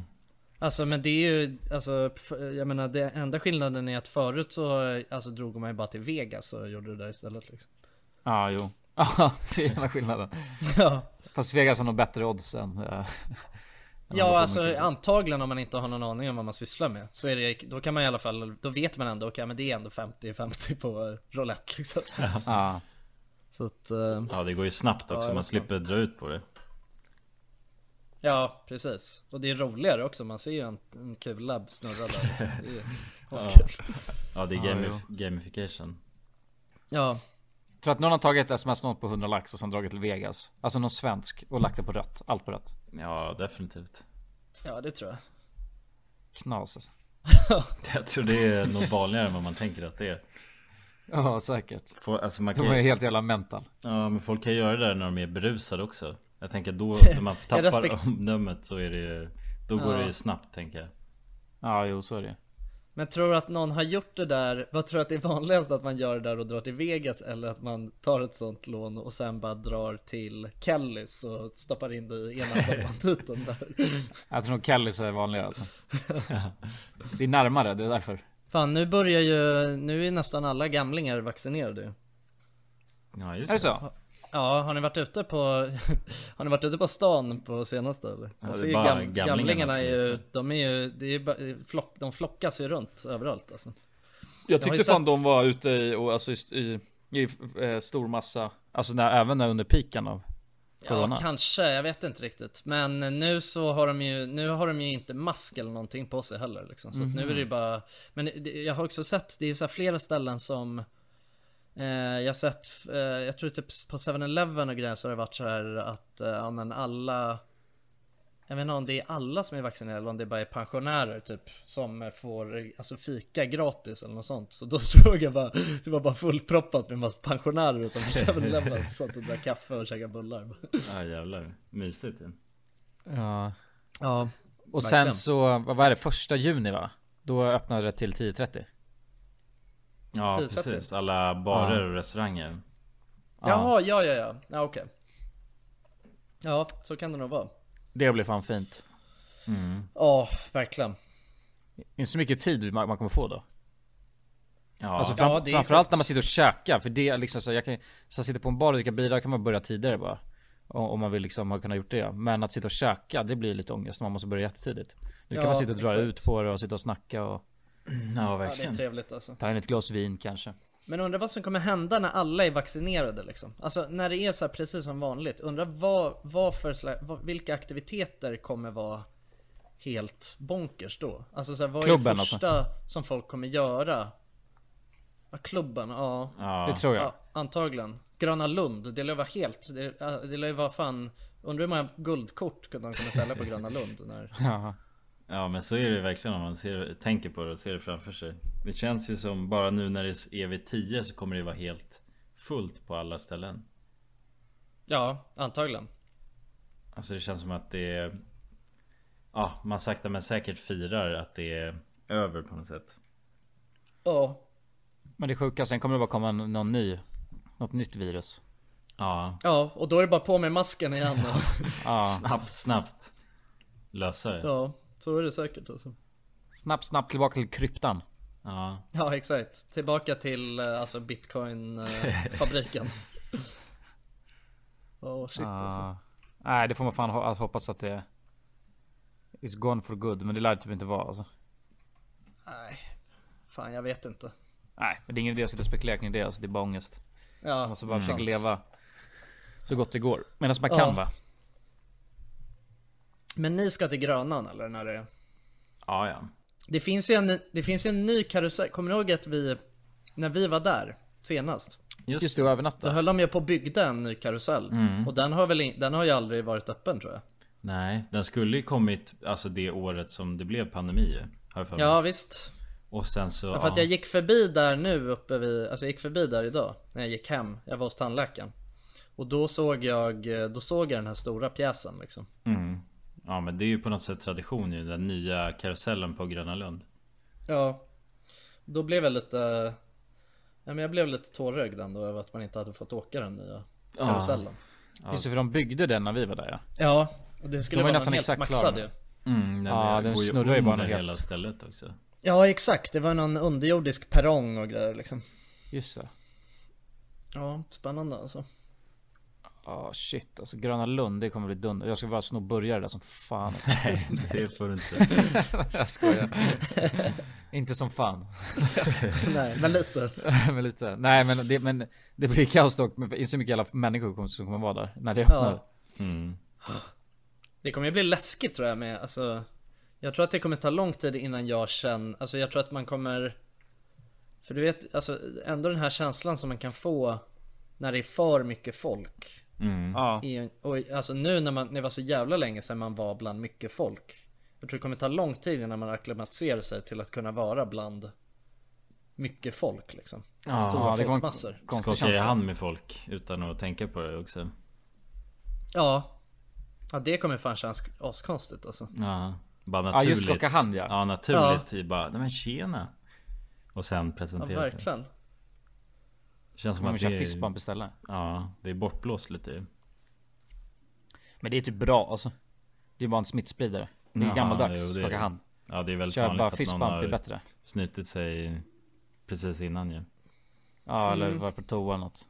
Speaker 2: Alltså men det är ju, alltså, f- jag menar det enda skillnaden är att förut så, alltså drog man ju bara till Vegas och gjorde det där istället liksom.
Speaker 6: Ja, ah, jo. Ja, det är ena skillnaden.
Speaker 2: Ja.
Speaker 6: Fast Vegas har nog bättre odds än... eh, än
Speaker 2: Ja
Speaker 6: vad de
Speaker 2: alltså
Speaker 6: brukar.
Speaker 2: antagligen om man inte har någon aning om vad man sysslar med så är det, då kan man i alla fall, då vet man ändå, okej men det är ändå 50-50 på eh, roulette liksom.
Speaker 6: Ja.
Speaker 2: Så att, eh,
Speaker 5: Ja det går ju snabbt
Speaker 2: Ja,
Speaker 5: också,
Speaker 2: jag
Speaker 5: man
Speaker 2: vet
Speaker 5: slipper dra ut på det
Speaker 2: Ja, precis. Och det är roligare också. Man ser ju en, en kula snurra där. liksom. Det är
Speaker 5: Ja,
Speaker 2: askul.
Speaker 5: ja det är
Speaker 6: Ja,
Speaker 5: gamif- gamification
Speaker 2: Ja.
Speaker 6: Tror att någon har tagit sms-lån på 100 lax och sen dragit till Vegas. Alltså någon svensk och lagt det på rött. Allt på rött.
Speaker 5: Ja definitivt
Speaker 2: Ja, det tror jag.
Speaker 6: Knas alltså.
Speaker 5: Jag tror det är nog vanligare än vad man tänker att det är
Speaker 6: Ja säkert.
Speaker 5: Får- alltså, man
Speaker 6: De
Speaker 5: kan ju-
Speaker 6: är helt jävla mental.
Speaker 5: Ja men folk kan göra det där när de är berusade också Jag tänker då, när man
Speaker 2: Jag
Speaker 5: tappar
Speaker 2: respekt-
Speaker 5: omdömet så är det ju Då går
Speaker 2: Ja.
Speaker 5: det ju snabbt tänker jag
Speaker 6: Ja jo så är det
Speaker 2: Men tror du att någon har gjort det där? Vad tror du att det är vanligast att man gör det där och drar till Vegas? Eller att man tar ett sånt lån och sen bara drar till Kellys och stoppar in det i ena banditen där.
Speaker 6: Jag tror nog Kelly så är vanligare alltså. Det är närmare, det är därför.
Speaker 2: Fan, nu börjar ju, nu är nästan alla gamlingar vaccinerade ju.
Speaker 5: Ja just
Speaker 6: Är det så?
Speaker 2: Ja, har ni varit ute på, har ni varit ute på stan på senaste eller?
Speaker 5: Ja,
Speaker 2: Man
Speaker 5: det
Speaker 2: ser
Speaker 5: är
Speaker 2: ju
Speaker 5: bara
Speaker 2: gam,
Speaker 5: gamlingarna
Speaker 2: gamlingarna
Speaker 5: som
Speaker 2: är
Speaker 5: är
Speaker 2: ju, de är ju, det är ju bara- flock, de flockas ju runt överallt alltså.
Speaker 6: Jag
Speaker 2: har
Speaker 6: tyckte
Speaker 2: ju
Speaker 6: fan de var ute i, och alltså i, i, i eh, stor massa, alltså när, även när under piken av corona.
Speaker 2: Ja, kanske, jag vet inte riktigt. Men nu så har de ju, nu har de ju inte mask eller någonting på sig heller liksom. Så att nu är det ju
Speaker 6: Mhm.
Speaker 2: bara, men det- jag har också sett, det är ju så här flera ställen som Eh, jag har sett, eh, jag tror typ på 7-Eleven och grejer så har det varit så här att, eh, ja men alla Jag vet inte om det är alla som är vaccinerade eller om det bara är pensionärer typ Som eh, får eh, alltså fika gratis eller något sånt Så då såg jag bara, det var bara fullproppat med en massa pensionärer utanför 7-Eleven som satt och drack kaffe och käkade bullar
Speaker 5: Ja jävlar, mysigt ju
Speaker 6: Ja.
Speaker 2: Ja.
Speaker 6: Och sen
Speaker 2: verkligen.
Speaker 6: så, vad vad är det, första juni va? Då öppnade det till 10.30.
Speaker 5: Ja
Speaker 2: Typ att det-
Speaker 5: precis, alla barer
Speaker 6: Ja.
Speaker 5: och restauranger
Speaker 2: Jaha, ja ja ja, ja okej Ja, så kan det nog vara
Speaker 6: Det blir fan fint.
Speaker 2: Ja, verkligen
Speaker 6: Inte så mycket tid man, man kommer få då.
Speaker 5: Ja,
Speaker 6: Alltså fram,
Speaker 2: Ja, det är
Speaker 6: framförallt
Speaker 2: sjukt.
Speaker 6: när man sitter och käkar, för det är liksom så, jag kan, så jag sitter på en bar och dricker bira kan man börja tidigare bara. Om om man vill liksom ha kunnat gjort det. Men att sitta och käka, det blir lite ångest, man måste börja jättetidigt. Nu kan
Speaker 2: Ja,
Speaker 6: man sitta och dra
Speaker 2: exakt.
Speaker 6: ut på det och sitta och snacka och
Speaker 5: Ja
Speaker 2: Ja, det är trevligt alltså
Speaker 6: ta in ett glas vin kanske.
Speaker 2: Men undrar vad som kommer hända när alla är vaccinerade liksom. Alltså när det är så här precis som vanligt. Undrar vad, vad för slags, vad, vilka aktiviteter kommer vara helt bonkers då? Alltså så här, vad är
Speaker 6: Klubben,
Speaker 2: det
Speaker 6: alltså.
Speaker 2: första som folk kommer göra? Ja, klubben, ja.
Speaker 6: Ja. Det tror jag.
Speaker 2: antagligen. Gröna Lund, det lär vara helt, det, ja, det lär vara fan, undrar hur många guldkort de kommer sälja på Gröna Lund när...
Speaker 6: Ja.
Speaker 5: Ja men så är det verkligen om man ser, tänker på det och ser det framför sig Det känns ju som bara nu när det är vid 10 så kommer det vara helt fullt på alla ställen
Speaker 2: Ja, antagligen.
Speaker 5: Alltså det känns som att det är Ja man sakta men säkert firar att det är över på något sätt
Speaker 2: Ja.
Speaker 6: Men det sjuka, sen kommer det bara komma någon ny. Något nytt virus.
Speaker 5: Ja.
Speaker 2: Ja, och då är det bara på med masken igen då.
Speaker 5: Snabbt snabbt Lösa det
Speaker 2: Ja, så är det säkert alltså.
Speaker 6: Snabbt, snabbt tillbaka till kryptan.
Speaker 5: Ja
Speaker 2: Ja, exakt. Tillbaka till eh, alltså eh, bitcoin-fabriken. Åh shit alltså.
Speaker 6: Ah. Nej, det får man fan ho- hoppas att det... It's gone for good, men det lär det typ inte vara alltså.
Speaker 2: Nej, fan jag vet inte.
Speaker 6: Nej, men det är ingen idé att sitta och spekulera kring det alltså. Det är bara ångest.
Speaker 2: Ja,
Speaker 6: man måste bara
Speaker 2: sant.
Speaker 6: försöka leva så gott det går. Medan man
Speaker 2: Mm. Ja.
Speaker 6: kan va?
Speaker 2: Men ni ska till Grönan eller när det är?
Speaker 5: Ja ja
Speaker 2: Det finns ju en, det finns ju en ny karusell. Kommer ni ihåg att vi, när vi var där senast?
Speaker 5: Just,
Speaker 6: Just det, och övernatta.
Speaker 2: Då höll de ju på att bygga en ny karusell.
Speaker 5: Mm.
Speaker 2: Och den har väl in, den har ju aldrig varit öppen tror jag.
Speaker 5: Nej den skulle ju kommit alltså det året som det blev pandemi ju har jag för mig.
Speaker 2: Ja visst.
Speaker 5: Och sen så
Speaker 2: Ja, för att jag gick förbi där nu uppe vid, alltså jag gick förbi där idag när jag gick hem. Jag var hos tandläkaren. Och då såg jag, då såg jag den här stora pjäsen liksom.
Speaker 5: Mm. Ja men det är ju på något sätt tradition ju, den nya karusellen på Gröna Lund.
Speaker 2: Ja. Då blev jag lite, ja men jag blev lite tårögd ändå över att man inte hade fått åka den nya
Speaker 6: Ja.
Speaker 2: karusellen.
Speaker 6: Just det, för de byggde den när vi var där ja.
Speaker 2: Ja, och det skulle
Speaker 6: De var ju
Speaker 2: vara nästan helt
Speaker 6: exakt
Speaker 2: maxad
Speaker 6: klara.
Speaker 2: ju.
Speaker 5: Mm, den
Speaker 6: Ja,
Speaker 5: ja,
Speaker 6: den
Speaker 5: går ju
Speaker 6: snurrar ju bara
Speaker 5: under
Speaker 6: helt.
Speaker 5: hela stället också.
Speaker 2: Ja exakt, det var någon underjordisk perrong och grejer liksom.
Speaker 6: Just det.
Speaker 2: Ja, spännande alltså.
Speaker 6: Ja shit alltså Gröna Lund det kommer bli dunder. Jag ska bara sno burgare där som fan. Alltså.
Speaker 5: Nej det får du inte säga.
Speaker 6: jag skojar. inte som fan. Jag skojar.
Speaker 2: Nej, men lite.
Speaker 6: men lite. Nej men det, men det blir kaos dock. Men det är så mycket jävla människor kommer- som kommer vara där när det
Speaker 2: Ja.
Speaker 6: öppnar.
Speaker 5: Mm.
Speaker 2: Det kommer ju bli läskigt tror jag med, alltså Jag tror att det kommer ta lång tid innan jag känner, alltså jag tror att man kommer För du vet, alltså ändå den här känslan som man kan få När det är för mycket folk
Speaker 5: Mm.
Speaker 6: Ja.
Speaker 2: I, en- och alltså nu när man, när det var så jävla länge sedan man var bland mycket folk Jag tror det kommer ta lång tid innan man acklimatiserar sig till att kunna vara bland Mycket folk liksom
Speaker 5: Ja,
Speaker 2: Stora
Speaker 6: det kommer-
Speaker 2: folkmassor
Speaker 6: Konstig
Speaker 5: Skaka i
Speaker 6: känsla.
Speaker 5: hand med folk utan att tänka på det också.
Speaker 2: Ja Ja det kommer fan kännas askonstigt alltså
Speaker 5: Ja, bara
Speaker 6: Ja,
Speaker 5: naturligt.
Speaker 6: just skaka hand, ja.
Speaker 5: Ja naturligt. i Bara, nej men tjena. Och sen
Speaker 2: Ja
Speaker 5: presentera sig.
Speaker 2: verkligen
Speaker 5: Det känns som
Speaker 6: Man
Speaker 5: att
Speaker 6: vill
Speaker 5: det
Speaker 6: köra
Speaker 5: är,
Speaker 6: fistbump istället.
Speaker 5: ja, det är bortblåst lite ju.
Speaker 6: Men det är typ bra alltså. Det är bara en smittspridare. Det är
Speaker 5: Ja,
Speaker 6: gammaldags.
Speaker 5: jo, det är
Speaker 6: skaka
Speaker 5: det.
Speaker 6: hand.
Speaker 5: Ja det är väldigt
Speaker 6: Kör
Speaker 5: vanligt
Speaker 6: bara
Speaker 5: att någon
Speaker 6: fistbump är
Speaker 5: har
Speaker 6: bättre.
Speaker 5: snutit sig precis innan ju.
Speaker 6: Ja eller
Speaker 2: Mm.
Speaker 6: vara på toa eller något.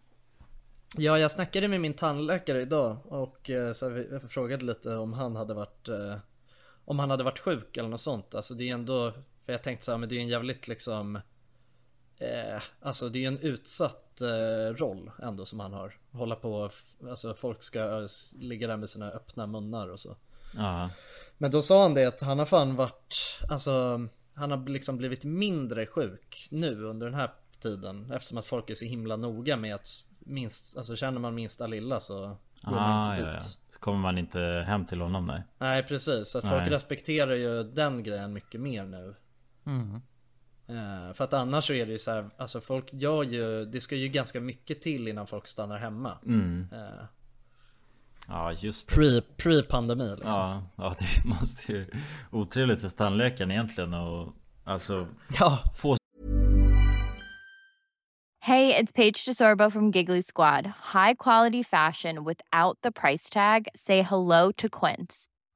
Speaker 2: Ja, jag snackade med min tandläkare idag och eh, så vi- jag frågade lite om han hade varit eh, Om han hade varit sjuk eller något sånt. Alltså det är ändå För jag tänkte så här, men det är en jävligt liksom eh, Alltså det är en utsatt eh, roll ändå som han har. Hålla på och f- Alltså folk ska eh, s- ligga där med sina öppna munnar och så.
Speaker 5: Ja.
Speaker 2: Men då sa han det att han har fan varit, alltså han har liksom blivit mindre sjuk nu under den här tiden eftersom att folk är så himla noga med att minst, alltså känner man minsta lilla så går man
Speaker 5: Ah,
Speaker 2: inte
Speaker 5: ja,
Speaker 2: dit.
Speaker 5: ja. Så kommer man inte hem till honom nej.
Speaker 2: Nej precis, så att folk
Speaker 5: Nej.
Speaker 2: respekterar ju den grejen mycket mer nu.
Speaker 6: Mm.
Speaker 2: Eh, för att annars så är det ju så här, alltså folk gör ju, det ska ju ganska mycket till innan folk stannar hemma.
Speaker 5: Mm.
Speaker 2: Eh,
Speaker 5: Ja just det.
Speaker 2: pre, pre-pandemi liksom.
Speaker 5: Ja, ja, det måste ju... Otrevligt för tandläkaren egentligen och... Alltså...
Speaker 2: Ja.
Speaker 5: Få...
Speaker 10: Hey, it's Paige DeSorbo from Giggly Squad. High quality fashion without the price tag. Say hello to Quince.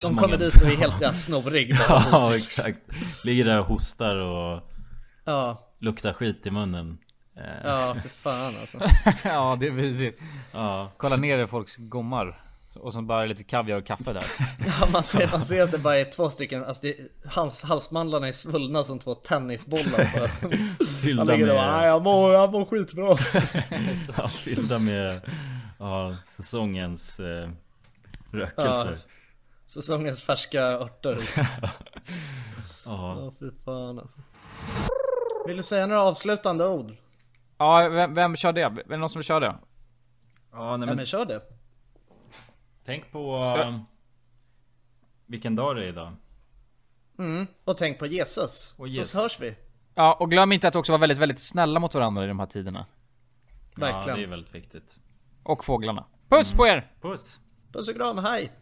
Speaker 2: De kommer dit och är helt jävla snorig bara.
Speaker 5: Ja exakt Ligger där och hostar och
Speaker 2: Ja.
Speaker 5: luktar skit i munnen Eh,
Speaker 2: Ja, för fan alltså.
Speaker 6: ja, det är vidrigt. Kolla ner i folks gommar. Och sen bara lite kaviar och kaffe där.
Speaker 2: Ja, man, ser, man ser att det bara är två stycken, alltså det, hals, halsmandlarna är svullna som två tennisbollar. bara.
Speaker 5: Fyllda
Speaker 2: Han ligger där och
Speaker 5: med-
Speaker 2: bara, "Ah, jag mår, jag mår skitbra.
Speaker 5: Ja, fyllda med ja, säsongens eh,
Speaker 2: Ja,
Speaker 5: rökelser
Speaker 2: säsongens färska örter.
Speaker 5: Ja.
Speaker 2: Ja, fy fan alltså. Vill du säga några avslutande ord?
Speaker 6: Ja, vem, vem kör det? Är det någon som vill köra det? Ja,
Speaker 2: Nej men kör det.
Speaker 5: Tänk på eh, vilken dag det är idag
Speaker 2: Mm. Och tänk på Jesus.
Speaker 5: Jesus.
Speaker 2: Så hörs vi.
Speaker 6: Ja, och glöm inte att också vara väldigt, väldigt snälla mot varandra i de här tiderna.
Speaker 2: Verkligen.
Speaker 5: Ja det är väldigt viktigt Mm.
Speaker 6: Och fåglarna. Puss på er!
Speaker 5: Puss!
Speaker 2: Puss och kram, hej!